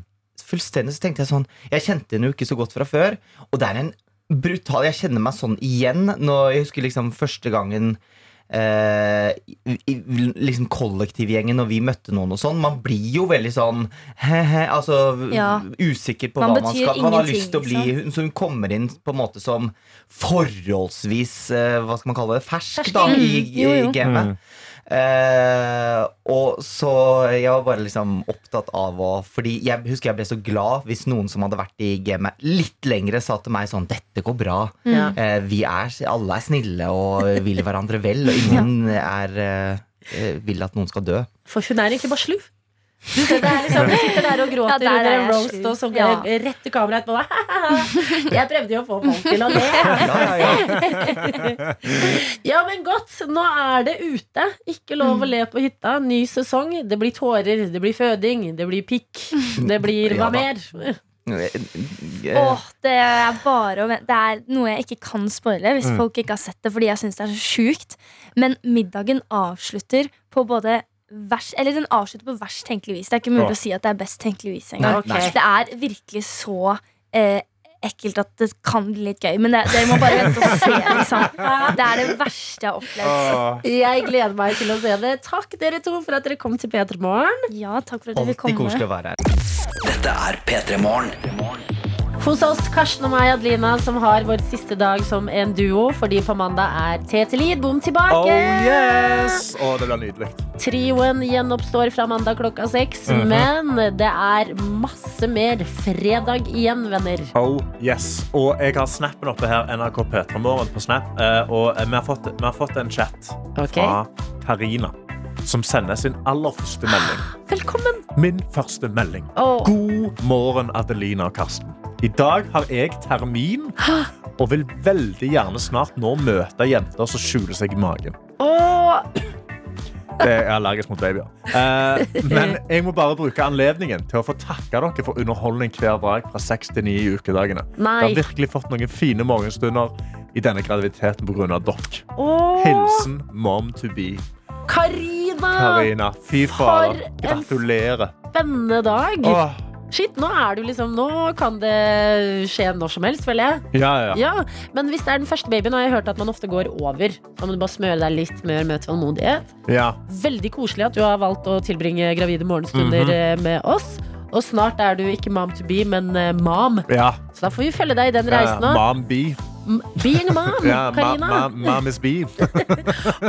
fullstendig så tenkte jeg sånn Jeg kjente henne jo ikke så godt fra før, og det er en brutal Jeg kjenner meg sånn igjen når jeg husker liksom første gangen eh, i, i, liksom kollektivgjengen når vi møtte noen og sånn. Man blir jo veldig sånn he-he, altså
Ja.
usikker på
Man
hva man
betyr
skal. Man har
ingenting,
lyst til å bli
ikke sant?
hun, Så hun kommer inn på en måte som forholdsvis eh, Hva skal man kalle det? Fersk, da, i,
Mm, jo,
i
jo.
gamet.
Mm.
Eh, og så jeg var bare liksom opptatt av å Fordi jeg husker jeg ble så glad hvis noen som hadde vært i gamet litt lengre, sa til meg sånn Dette går bra.
Mm.
Eh, vi er, alle er snille og vil hverandre vel, og ingen er eh, vil at noen skal dø.
For hun er egentlig bare slu. Du, ser, det er liksom, du sitter der og
Ja,
gråter
der
under
er
en
jeg
roast,
slu.
og så går
Ja.
jeg rett til kameraet etterpå. «Hahaha, Jeg prøvde jo å få folk til å le. Ja, men godt. Nå er det ute. Ikke
Mm.
lov å le på hytta. Ny sesong. Det blir tårer, det blir føding, det blir pikk. Det blir
Ja
hva
da.
mer?
Eh,
Åh, det er bare å vente. Det er noe jeg ikke kan spoile hvis
Mm.
folk ikke har sett det, fordi jeg syns det er så sjukt. Men middagen avslutter på både vers, eller den avslutter på verst tenkelig vis. Det er ikke mulig
Åh.
å si at det er best tenkelig vis
Nei,
engang.
nei.
Det er virkelig så eh, ekkelt at det kan bli litt gøy. Men det- dere må bare vente og se, liksom. Det er det verste jeg har
Åh.
opplevd.
Jeg gleder meg til å se det. Takk dere to for at dere kom til P3 Morgen.
Ja, takk for
at dere fikk Alltid komme. koselig å være her.
Dette er P3 Morgen.
Hos oss Karsten og meg, Adelina, som har vår siste dag som en duo. Fordi på mandag er Tetelid bom tilbake.
Oh yes! Å, det blir nydelig.
Trioen gjenoppstår fra mandag klokka seks.
Mhm.
Men det er masse mer fredag igjen, venner.
Oh yes. Og jeg har snappen oppe her. NRK P3morgen på Snap. eh, Og vi har fått, vi har fått en chat fra Karina, som sender sin aller første melding.
Velkommen!
Min første melding.
Åh.
God morgen, Adelina og Karsten. I dag har jeg termin og vil veldig gjerne snart nå møte jenter som skjuler seg i magen.
Åh,
Det er jeg allergisk mot babyer. Eh, men jeg må bare bruke anledningen til å få takke dere for underholdning hver dag fra 6 til 9 i ukedagene.
Nei.
Det har virkelig fått noen fine morgenstunder i denne graviditeten pga. dere.
åh.
Hilsen mom to be.
Karina!
Karina. Fy fader.
Ah, en
Gratulerer.
Spennende dag.
Åh.
Shit, nå er du liksom Nå kan det skje når som helst, føler jeg.
Ja, ja, ja.
Ja, Men hvis det er den første babyen, har jeg hørt at man ofte går over. Da må du bare smøre deg litt mer med tålmodighet.
ja.
Veldig koselig at du har valgt å tilbringe gravide morgenstunder
Mhm.
eh, med oss. Og snart er du ikke mom to be, men eh, mom.
ja.
Så da får vi følge deg i den
Ja,
reisen òg.
Mom be.
Being a mom,
Ja, ma
Mm, Karina.
ma mom is be.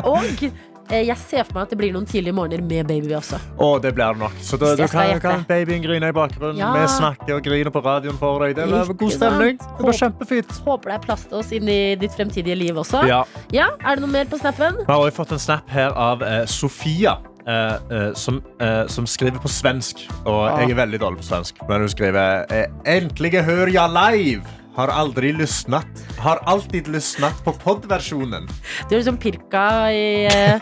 Og eh, jeg ser for meg at det blir noen tidlige morgener med baby også.
Å, det blir det nok. Så da,
Hvis
da
jeg skal
kan,
gjette.
kan babyen grine i bakgrunnen.
Ja.
Vi snakker og griner på radioen for deg. Det blir
Ikke
god stemning.
sant?
Det blir kjempefint.
Håper det er plass til oss inn i ditt fremtidige liv også.
Ja.
Ja, Er det noe mer på snappen?
Vi har også fått en snap her av eh, Sofia, eh, eh, som, eh, som skriver på svensk. Og
Ah.
jeg er veldig dårlig på svensk, men hun skriver eh, Endelig hører jeg live! Har aldri lysnet. Har alltid lysnet på podversjonen.
Du er liksom pirka i, eh,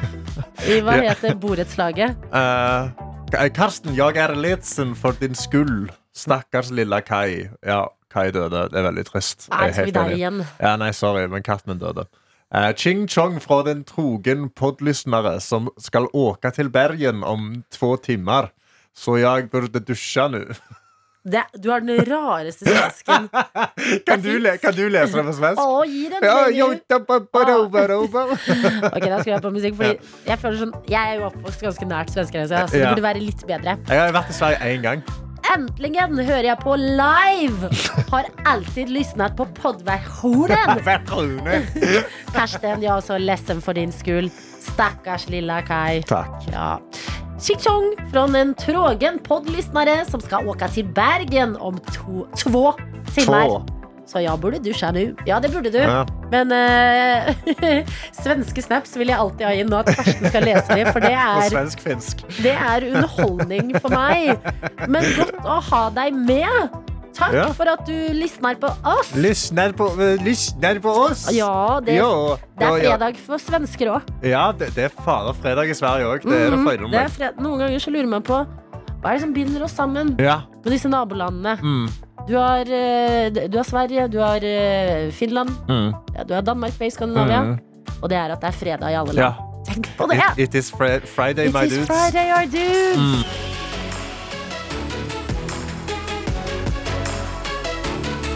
i Hva
Ja.
heter borettslaget?
Eh, K- Karsten, jeg er ledsen for din skyld. Stakkars lille Kai. Ja, Kai døde. Det er veldig trist.
Nei,
Jeg er
tok
helt
vi der
enig.
igjen?
Ja, nei, sorry, men katten min døde. Eh, Ching Chong fra den trogen podlysnere som skal åke til Bergen om to timer. Så jeg burde dusje nå.
Det, du har den rareste svensken.
Kan du, le kan du lese det på svensk?
Å, gi den
Ja,
mening.
jo, da, ba, ba, da, ba, da, ba.
Ok, da skal jeg på musikk Fordi jeg føler sånn Jeg er jo oppvokst ganske nært svenskegrensa, så det
Ja.
burde være litt bedre.
Jeg har vært i Sverige én gang.
Äntligen hör jag på live! Har alltid lyssnat på poddversionen. Karsten, jag är så ledsen för din skull. Stackars lilla Kai.
Tack.
Ja. Tjing-tjong från en trågen poddlyssnare som ska åka till Bergen om to- två timmar.
Två.
Så jag borde duscha nu. Ja, det borde du.
Ja.
Men eh, svenske snaps vil jeg alltid ha inn nå at Karsten skal lese dem, for det
På
er,
svensk-finsk.
det er underholdning for meg. Men godt å ha deg med. Takk
Ja.
for at du lysner på oss.
Lyssnar på, eh, lyssnar på oss!
Ja, det,
Jo,
det
jo,
er
ja.
fredag for svensker òg.
Ja, det, det er fare fredag i Sverige òg. Det er det for
Mhm, det er fred Noen ganger så lurer man på hva er det som binder oss sammen
Ja.
med disse nabolandene.
Mm.
Du har, eh, du har Sverige, du har eh, Finland,
Mm.
ja, du har Danmark med i Skandinavia.
Mm.
Og det er at det er fredag i alle
ja.
land. Tenk på det!
It, it is fri- Friday,
It
my
is
dudes.
Friday, our dudes.
Mm.
P3 Morgen.